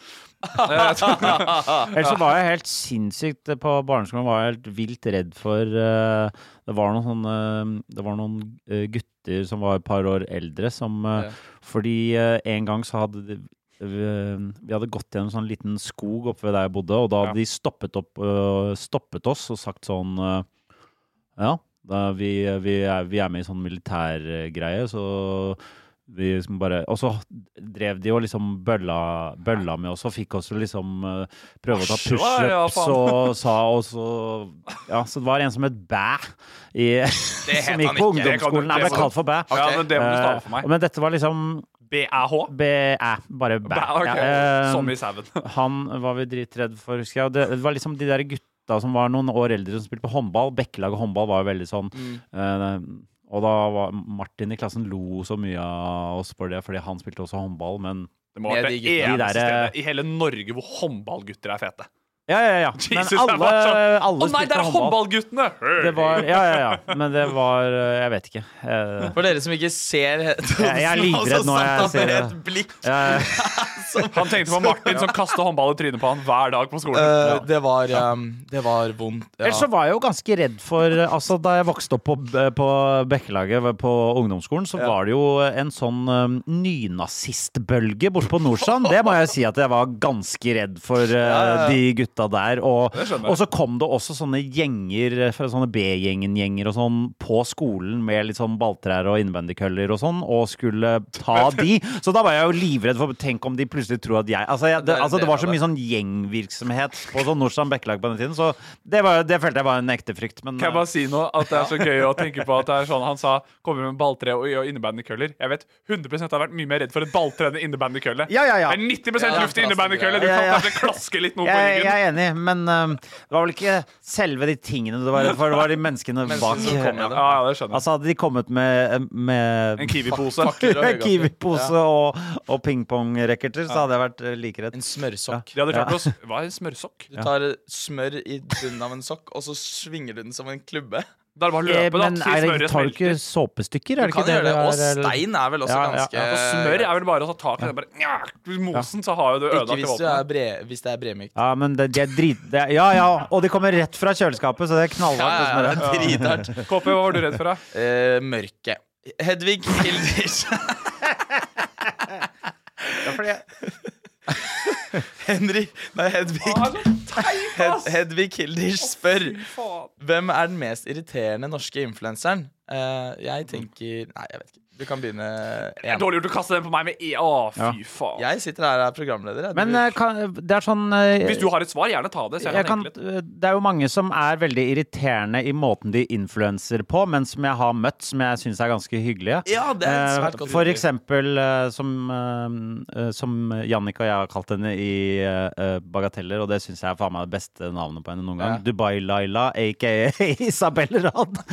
E: Ellers
C: Ellers så var jeg helt sinnssykt på barneskolen var jeg helt vilt redd for eh, Det var noen sånne eh, Det var noen eh, gutter som var et par år eldre som eh,
G: Ja.
C: Fordi eh, en gang så hadde de vi vi hadde gått gjennom sånn liten skog oppe ved der jeg bodde, og da hadde
G: Ja.
C: de stoppet, opp, eh, stoppet oss og sagt sånn eh, Ja, da vi, vi, er, vi er med i sånn militærgreie, så vi liksom bare Og så drev de og liksom bølla, bølla med oss og fikk oss til å liksom eh, prøve å ta
G: Asj, hva er det, ja,
C: pushups
G: faen?
C: og sa og så Ja, så det var en som het Bæ, i,
E: Det
C: som
E: het
C: gikk
E: han
C: på
E: ikke. Det kan du-
C: ungdomsskolen.
E: det
C: Han ble
E: må du-
C: kalt for Bæ.
E: Ja, men det må du stave for
C: Eh,
E: meg.
C: Men dette var liksom
E: BAH?
C: BÆ, bare Bæ.
E: Bæ, ok.
C: eh,
E: Som i sauen.
C: han var vi dritredd for, husker jeg. Og det, det var liksom de der gutta som var noen år eldre som spilte på håndball. Bekkelag og håndball var jo veldig sånn.
E: Mm.
C: eh, og da var Martin i klassen lo så mye av oss for det, fordi han spilte også håndball, men
E: Det må ha vært det
C: De
E: eneste
C: der- eh,
E: stedet i hele Norge hvor håndballgutter er fete.
C: Ja, ja, ja. Men
E: Jesus, jeg
C: alle,
E: var sånn,
C: alle
E: Å nei,
C: spilte
E: der er
C: håndball.
E: håndballguttene!
C: Det var, ja, ja, ja. Men det var eh, Jeg vet ikke. Eh,
B: For dere som ikke ser
C: jeg er livredd nå jeg ser
B: det.
C: det. Jeg-
E: Han tenkte på Martin som kastet håndball i trynet på han hver dag på skolen.
B: Eh,
E: Ja.
B: det, var, ehm, det var vondt. Ja.
C: Ellers så var jeg jo ganske redd for Altså, da jeg vokste opp på, eh, på Bekkelaget på ungdomsskolen, så var det jo en sånn um, nynazistbølge borte på Nordstrand. Det må jeg si at jeg var ganske redd for uh,
G: ja, ja.
C: de gutta der. Og,
G: Det skjønner jeg.
C: og så kom det også sånne gjenger, eh, fra sånne B-gjengen-gjenger og sånn, på skolen med litt sånn balltrær og innvendikøller og sånn, og skulle ta de. Så da var jeg jo livredd for Tenk om de plutselig tror at jeg Altså, jeg, det,
G: Det er en
C: altså, det
G: del
C: var
G: av
C: så
G: det.
C: mye sånn gjengvirksomhet på sånn Nordstrand Bekkelag på den tiden, så det, var, det følte jeg var en ekte frykt. Men
E: Kan jeg bare si noe? At det er så gøy å tenke på at det er sånn Han sa 'kommer med balltre og, og innebandykøller'. Jeg vet 100 har vært mye mer redd for et balltre enn en innebandykølle.
C: eh, Ja, ja, ja.
E: Det er 90
C: Ja,
E: luft i innebandykølle. Du
C: ja,
E: kan
C: ja.
E: kanskje klaske litt noe på
C: jeg,
E: ryggen.
C: jeg er enig, men um, det var vel ikke selve de tingene du var redd for, det var de menneskene
E: Menneskene
C: bak.
E: som kom med dem. Ja, ja, det skjønner jeg.
C: Altså Hadde de kommet med, med
E: En kiwi-pose. Fakler og
C: En
E: høygafler.
C: kiwi-pose
E: Ja.
C: og, og pingpongracketer, så
B: Ja.
C: hadde jeg vært eh, like redd. En
B: smørsokk.
E: De hadde klart oss. Hva er en
C: Eh,
E: smørsokk?
B: Du tar smør i bunnen av en sokk, og så svinger du den som en klubbe.
E: Da er det bare å løpe, da.
C: Eh,
E: til
C: Men er det,
E: smøret
C: tar du
E: smelter.
C: ikke såpestykker?
B: Du
C: Er det
B: kan
C: ikke det
B: gjøre det,
C: det
B: og
C: er, eller?
B: stein er vel også
C: Ja, ja,
B: ganske
C: ja.
E: Ja, for smør er vel bare å ta tak i det. Bare, nja, mosen, så har jo du
B: Ikke
E: ødelagt
B: hvis, du er bre- hvis det er bremykt.
C: Ja, men det, de er drit... Det er, ja, ja, og de kommer rett fra kjøleskapet, så det
B: Ja,
C: er
B: ja,
C: knallhardt. å smøre.
B: drithardt.
E: KP, hva var du redd for, da?
B: Eh, mørke. Hedvig Hilders. Henry Nei, Hedvig.
E: altså,
B: Hed, Hedvig Hilders spør Hvem er den mest irriterende norske influenseren? Eh, jeg tenker Nei, jeg vet ikke. Du kan begynne.
E: Det er dårlig gjort å kaste den på meg med E. Å, fy faen.
B: Jeg sitter her og er programleder. jeg.
C: Men eh, kan, det er sånn eh,
E: Hvis du har et svar, gjerne ta det. Så jeg
C: jeg
E: kan
C: kan, eh,
E: tenke litt.
C: det er jo mange som er veldig irriterende i måten de influenser på, men som jeg har møtt, som jeg syns er ganske hyggelige.
B: Ja, det er svært godt
C: Eh, For
B: uttrykk.
C: eksempel eh, som, eh, eh, som Jannik og jeg har kalt henne i eh, eh, Bagateller, og det syns jeg er faen meg det beste navnet på henne noen gang. Dubai-Laila, aka Isabel Rad.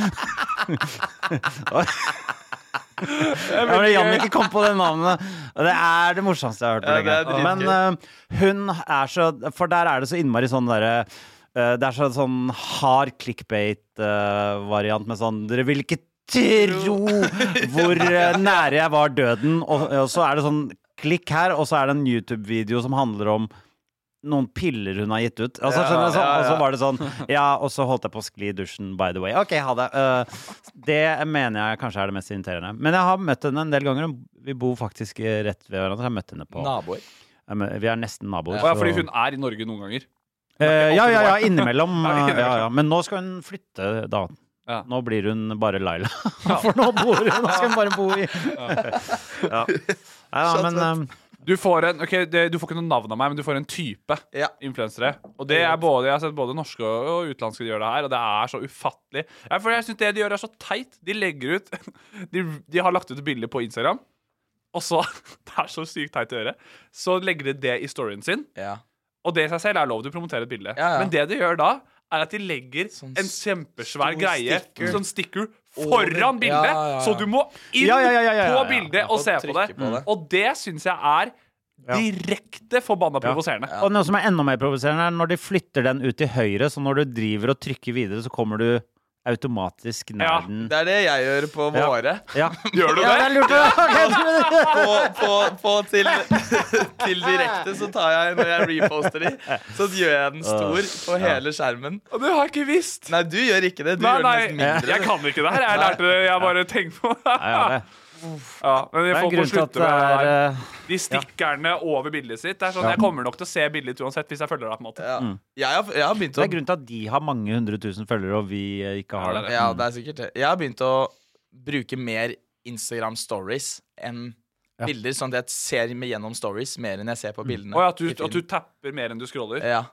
C: Jeg vet Jannicke kom på det navnet. og Det er det morsomste jeg har hørt. på
G: Ja, det er
C: lenge.
G: dritgøy.
C: Men eh, hun er så For der er det så innmari sånn derre eh, Det er så, sånn hard clickbait-variant med sånn Dere vil ikke tro hvor eh, nære jeg var døden. Og, og så er det sånn klikk her, og så er det en YouTube-video som handler om noen piller hun har gitt ut. Altså,
G: Ja,
C: skjønner du, så,
G: ja,
C: Og så
G: ja.
C: var det sånn Ja, og så holdt jeg på å skli i dusjen, by the way. OK, ha det. Eh, det mener jeg kanskje er det mest irriterende. Men jeg har møtt henne en del ganger. Hun- Vi bor faktisk eh, rett ved hverandre. Jeg har møtt henne på
B: Naboer.
C: Jeg mø- Vi er nesten naboer.
E: Å, ja, fordi
C: så-
E: hun er i Norge noen ganger.
C: Eh, ja, ja, ja, innimellom.
E: Ja,
C: eh,
E: innimellom.
C: Ja, ja. Men nå skal hun flytte, da. Nå blir hun bare Laila. For nå bor hun Nå skal hun bare bo i ja. Nei, ja, men um,
E: du får, en, ok, det, du får ikke noe navn av meg, men du får en type influensere. Og det er både, Jeg har sett både norske og og utenlandske de gjør det her, og det er så ufattelig. Ja, for jeg synes Det de gjør, er så teit. De legger ut De, de har lagt ut bilder på Instagram, og så Det er så sykt teit å gjøre. Så legger de det i storyen sin, og det i seg selv er lov til å promotere et bilde.
B: ja. Sånn
E: Men det de gjør da, er at de legger en kjempesvær
B: stor
E: greie,
B: sticker.
E: sånn sticker,
B: Over.
E: foran bildet,
B: Ja, ja, ja.
E: så du må inn
B: Ja, ja, ja, ja, ja, ja.
E: på bildet
B: Ja,
E: og
B: og
E: se på det.
B: trykke på det.
E: Og det syns jeg er direkte forbanna provoserende.
C: Og noe som er enda mer provoserende, er når de flytter den ut til høyre, så når du driver og trykker videre, så kommer du automatisk nær den.
B: Det er det jeg gjør på
C: Ja.
B: våre.
C: Ja.
B: Gjør du
C: Ja,
B: det?
C: det er lurt, ja. Ok,
B: på, på, på til, til direkte så tar jeg Når jeg reposter de, så gjør jeg den stor på
E: Ja.
B: hele skjermen.
E: Og du har ikke visst!
B: Nei, du gjør ikke det. Du
E: Nei,
B: gjør
E: nei,
B: den nesten mindre.
E: jeg kan ikke det her. Jeg lærte det, jeg bare tenkte på det.
C: Ja, det.
E: Ja, men
C: Det er en
E: folk må
C: grunn til at
E: slutte med
C: det
E: det
C: er, eh,
E: der. De stikkerne over bildet sitt. Det er sånn,
C: Ja.
E: Jeg kommer nok til å se bildet ditt uansett hvis jeg følger deg. på en måte
C: Mm.
B: Jeg har, jeg har begynt
C: Det
B: å
C: er grunnen til at de har mange hundre tusen følgere, og vi eh, ikke har det.
B: Ja, det er sikkert det. Jeg har begynt å bruke mer Instagram stories enn
C: Ja. Mm.
B: bilder, sånn at jeg ser meg gjennom stories mer enn jeg ser på bildene.
E: Og at du, Eh,
B: i feeden.
E: at du tapper mer enn du scroller.
B: Ja.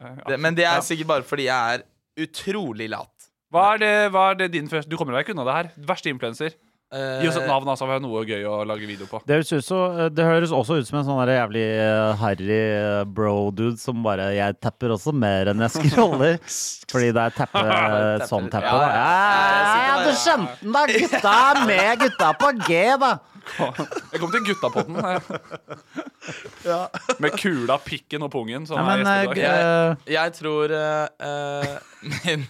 E: Ja.
B: Det, men det er sikkert bare fordi jeg er utrolig lat.
E: Hva er, det, hva er det din første Du kommer deg ikke unna det her. Verste influenser. Gi oss et navn, altså. Vi har noe gøy å lage video på.
C: Det høres, ut så, eh, det høres også ut som en sånn der jævlig eh, harry eh, bro-dude som bare Jeg tapper også mer enn jeg scroller. Fordi det er tappe, sånn tappe, da. Ja, ja, du skjønte den, da! Gutta er med, gutta er på G, da!
E: Jeg kom til guttapotten. Ja. Med kula, pikken og pungen. Som
C: Ja, men, eh,
E: er gjest i dag.
B: Jeg, jeg tror eh, eh, min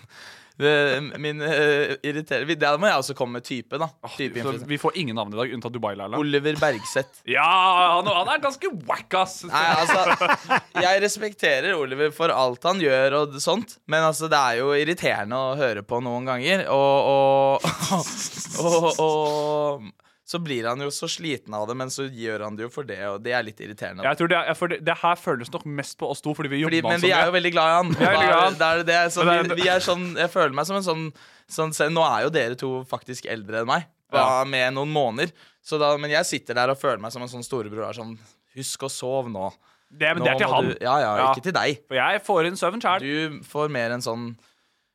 B: det- Min uh, irriterer Der må jeg også komme med type, da. Type
E: Så
B: influencer.
E: vi får ingen navn i dag, unntatt Dubai-Laila.
B: Oliver Bergseth.
E: Ja, han, han er ganske wack, ass.
B: Nei, altså, jeg respekterer Oliver for alt han gjør, og det- sånt men altså, det er jo irriterende å høre på noen ganger. Og, og, og, og så blir han jo så sliten av det, men så gjør han det jo for det, og det er litt irriterende.
E: Jeg tror det, er, for det, det her føles nok mest på oss to, fordi vi
B: Fordi,
E: jobber altså
B: men vi er jo veldig glad i han.
E: Vi er veldig glad i han.
B: Da er det- det er sånn,
E: Men det er-
B: vi, vi er sånn, jeg føler meg som en sånn, sånn se, Nå er jo dere to faktisk eldre enn meg,
E: Ja.
B: Bare med noen måneder. Så da, men jeg sitter der og føler meg som en sånn storebror. Er sånn, Husk å sove nå.
E: Det, men
B: Nå
E: det er til
B: må
E: han.
B: Du, ja, ja,
E: Ja.
B: ikke til deg.
E: For jeg får inn søvn sjæl.
B: Du får mer en sånn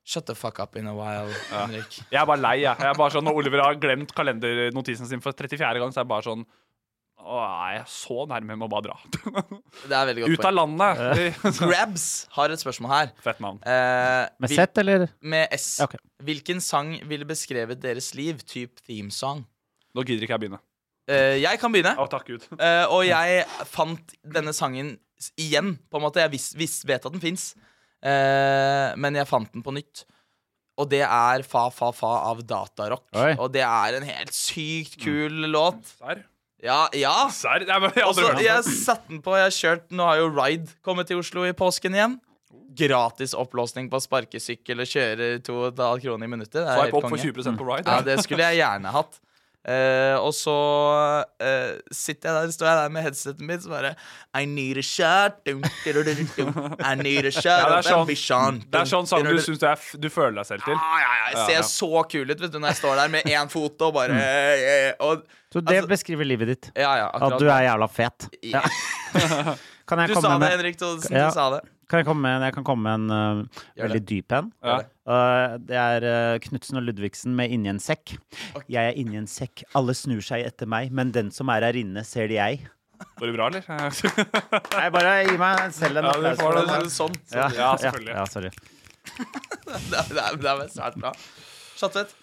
B: Shut the fuck up in a while, Henrik.
E: Jeg er bare lei, jeg. jeg er bare sånn, når Oliver har glemt kalendernotisen sin for 34. gang, så er jeg bare sånn Å, jeg er så nærme med å bare dra.
B: Det er veldig godt
E: Ut av landet!
B: Grabs har et spørsmål her.
E: Fett navn.
B: Eh,
C: Med
B: hvil-
C: Z, eller?
B: Med S.
C: Ja, ok.
B: Hvilken sang ville beskrevet deres liv? Type theme song.
E: Nå gidder ikke jeg begynne.
B: Eh, jeg kan begynne.
E: Å, takk Gud.
B: Eh, og jeg fant denne sangen s- igjen, på en måte. Jeg vis, vis, vet at den fins, men jeg fant den på nytt. Og det er Fa Fa Fa av Datarock.
E: Oi.
B: Og det er en helt sykt kul
E: Mm.
B: låt.
E: Serr?
B: Ja, ja.
E: Serr? Jeg har aldri
B: Også,
E: hørt den.
B: jeg satte den på, jeg har kjørt Nå har jo Ride kommet til Oslo i påsken igjen. Gratis opplåsning på sparkesykkel og kjører 2,5 kroner i minuttet. Det er
E: Swipe
B: helt
E: opp for
B: konge.
E: 20% på Ride.
B: Ja, det skulle jeg gjerne hatt. Eh, og så eh, sitter jeg der, står jeg der med headsetet mitt så bare I need a shot. Dum, dum, dum, dum, dum. I need a shot.
E: Ja, det, er
B: of
E: sånn,
B: ambition.
E: det er sånn sang
B: Dum,
E: du
B: dum, dum.
E: syns du, er f- du føler deg selv til.
B: Ah, ja, ja, jeg ser
E: Ja, Mm. ja.
B: så kul ut vet du, når jeg står der med én fot og bare eh, eh, og,
C: Så det beskriver livet ditt.
B: Ja, ja,
C: At
B: akkurat.
C: du er jævla fet.
B: Ja.
C: Kan jeg
B: Du
C: komme
B: sa det,
C: med-
B: Henrik Thodesen.
C: Ja.
B: Du sa det.
C: Kan jeg komme med en? Jeg kan komme med en øh, veldig dyp en.
B: Gjør det.
C: Øh, det er uh, Knutsen og Ludvigsen med 'Inni en sekk'. Jeg er inni en sekk, alle snur seg etter meg, men den som er her inne, ser det jeg.
E: Går det bra, eller?
C: Nei, bare gi meg selv en
E: Ja, du
C: applaus.
E: får
C: for
E: det.
C: den.
B: Sånn.
C: Ja,
E: Ja, selvfølgelig.
C: Ja, ja, sorry.
B: Det er, det er, det er svært bra. Chattet.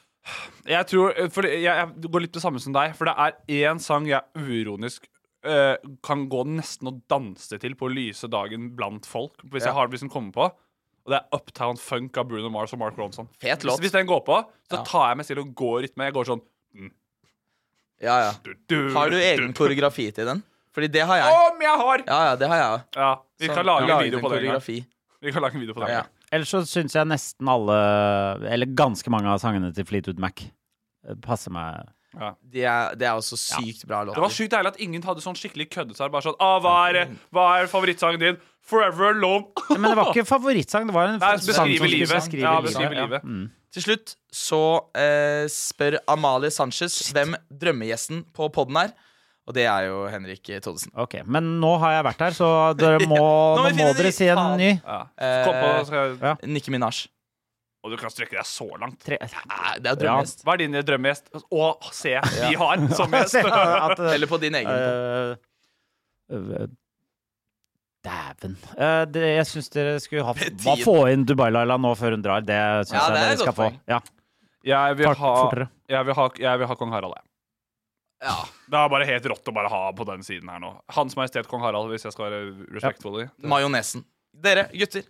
E: Jeg tror, for jeg, jeg går litt det samme som deg, for det er én sang jeg uironisk eh, kan gå nesten og danse til på lyse dagen blant folk, hvis
B: Ja.
E: jeg har hvis den kommer på. Og det er Uptown Funk av Bruno Mars og Mark Ronson.
B: Fet låt.
E: Hvis, hvis den går på, så tar jeg meg selv og går i rytme. Jeg går sånn
B: Ja, ja. Har du egen koreografi til den? Fordi det har jeg.
E: Om jeg har!
B: Ja, ja, det har jeg òg.
E: Ja, vi kan lage en video på det. en gang.
B: koreografi.
E: Vi kan lage en video på det. en
B: Ja.
E: gang.
C: Ellers så syns jeg nesten alle, eller ganske mange av sangene til Fleetwood Mac øh, passer meg.
B: Det er, det er også sykt bra
E: Det var
B: låter.
E: sjukt deilig at ingen hadde sånn skikkelig køddesvar. Bare sånn ah, hva, er, hva er favorittsangen din? Forever Love.
C: Men det var ikke favorittsang, det var en
E: Nei,
C: sang som
E: beskrive
C: skulle
E: livet.
C: beskrive
E: Ja,
C: livet.
E: beskrive livet.
C: Mm.
B: Til slutt så eh, spør Amalie Sanchez hvem drømmegjesten på podden er. Og det er jo Henrik Thodesen.
C: Ok, Men nå har jeg vært her, så dere må, nå må
B: finne
C: dere si en
B: faen.
C: ny.
B: Eh,
E: Kom på, skal jeg-
B: Nicki Minaj.
E: Og du kan strekke deg så langt.
B: Nei, det er jo
E: Ja.
B: drømmegjest.
E: Hva er din eh, drømmegjest? Å, se, vi
B: Ja.
E: har som gjest!
C: Se at, eh,
B: Eller på din egen.
C: eh, eh, Dæven. Eh, det, jeg syns dere skulle ha hva,
E: tiden.
C: Få inn Dubai Laila nå før hun drar. Det syns
E: Ja,
C: jeg
E: det er
C: dere
E: et
C: skal
E: godt
C: få.
E: poeng.
C: Ja.
E: Jeg vil,
C: Fart-
E: ha,
C: fortere.
E: jeg, vil ha, jeg vil ha kong Harald, jeg.
B: Ja.
E: Det er bare helt rått å bare ha på den siden her nå. Hans Majestet Kong Harald, hvis jeg skal være respectfully.
B: Majonesen. Dere, gutter.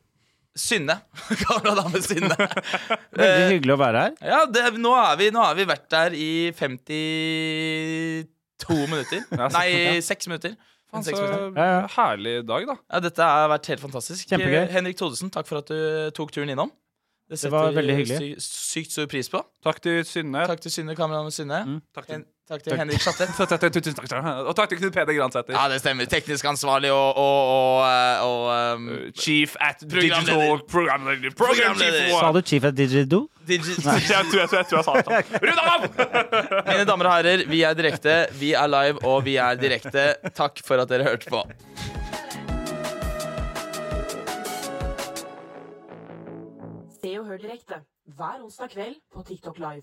B: Synne. Gamla dame Synne. Eh,
E: Eh,
C: Veldig hyggelig å være her.
B: Ja, det, nå, har vi, nå har vi vært der i 52 minutter.
E: seks minutter,
B: Nei,
E: ja.
B: 6 minutter.
E: Faen,
B: Seks
E: så
B: minutter.
E: herlig dag, da.
B: Ja, dette har vært helt fantastisk.
E: Kjempegøy.
B: Eh, Henrik Thodesen, takk for at du eh, tok turen innom.
E: Det var
B: setter
E: veldig
B: vi
E: hyggelig.
B: sy- Sykt stor pris på.
E: Takk Mm. til Synne.
B: Takk til Synne, kameraet Synne.
E: Takk
B: til, takk til
E: Takk.
B: Henrik Schattet.
E: Tusen takk. Og takk til Knut Peder Gransæter.
B: Ja, det stemmer. Teknisk ansvarlig og, og, og, eh, og um,
E: Chief at
B: Programleder.
E: Digital Programleder. Program
B: Programleder.
E: Chief
C: Sa du Chief at Didgeridoo? Nei.
E: Jeg tror jeg, jeg, tror jeg sa det sånn.
B: Mine damer og herrer, vi er direkte, vi er live, og vi er direkte. Takk for at dere hørte på.
H: Se og hør direkte hver onsdag kveld på TikTok Live.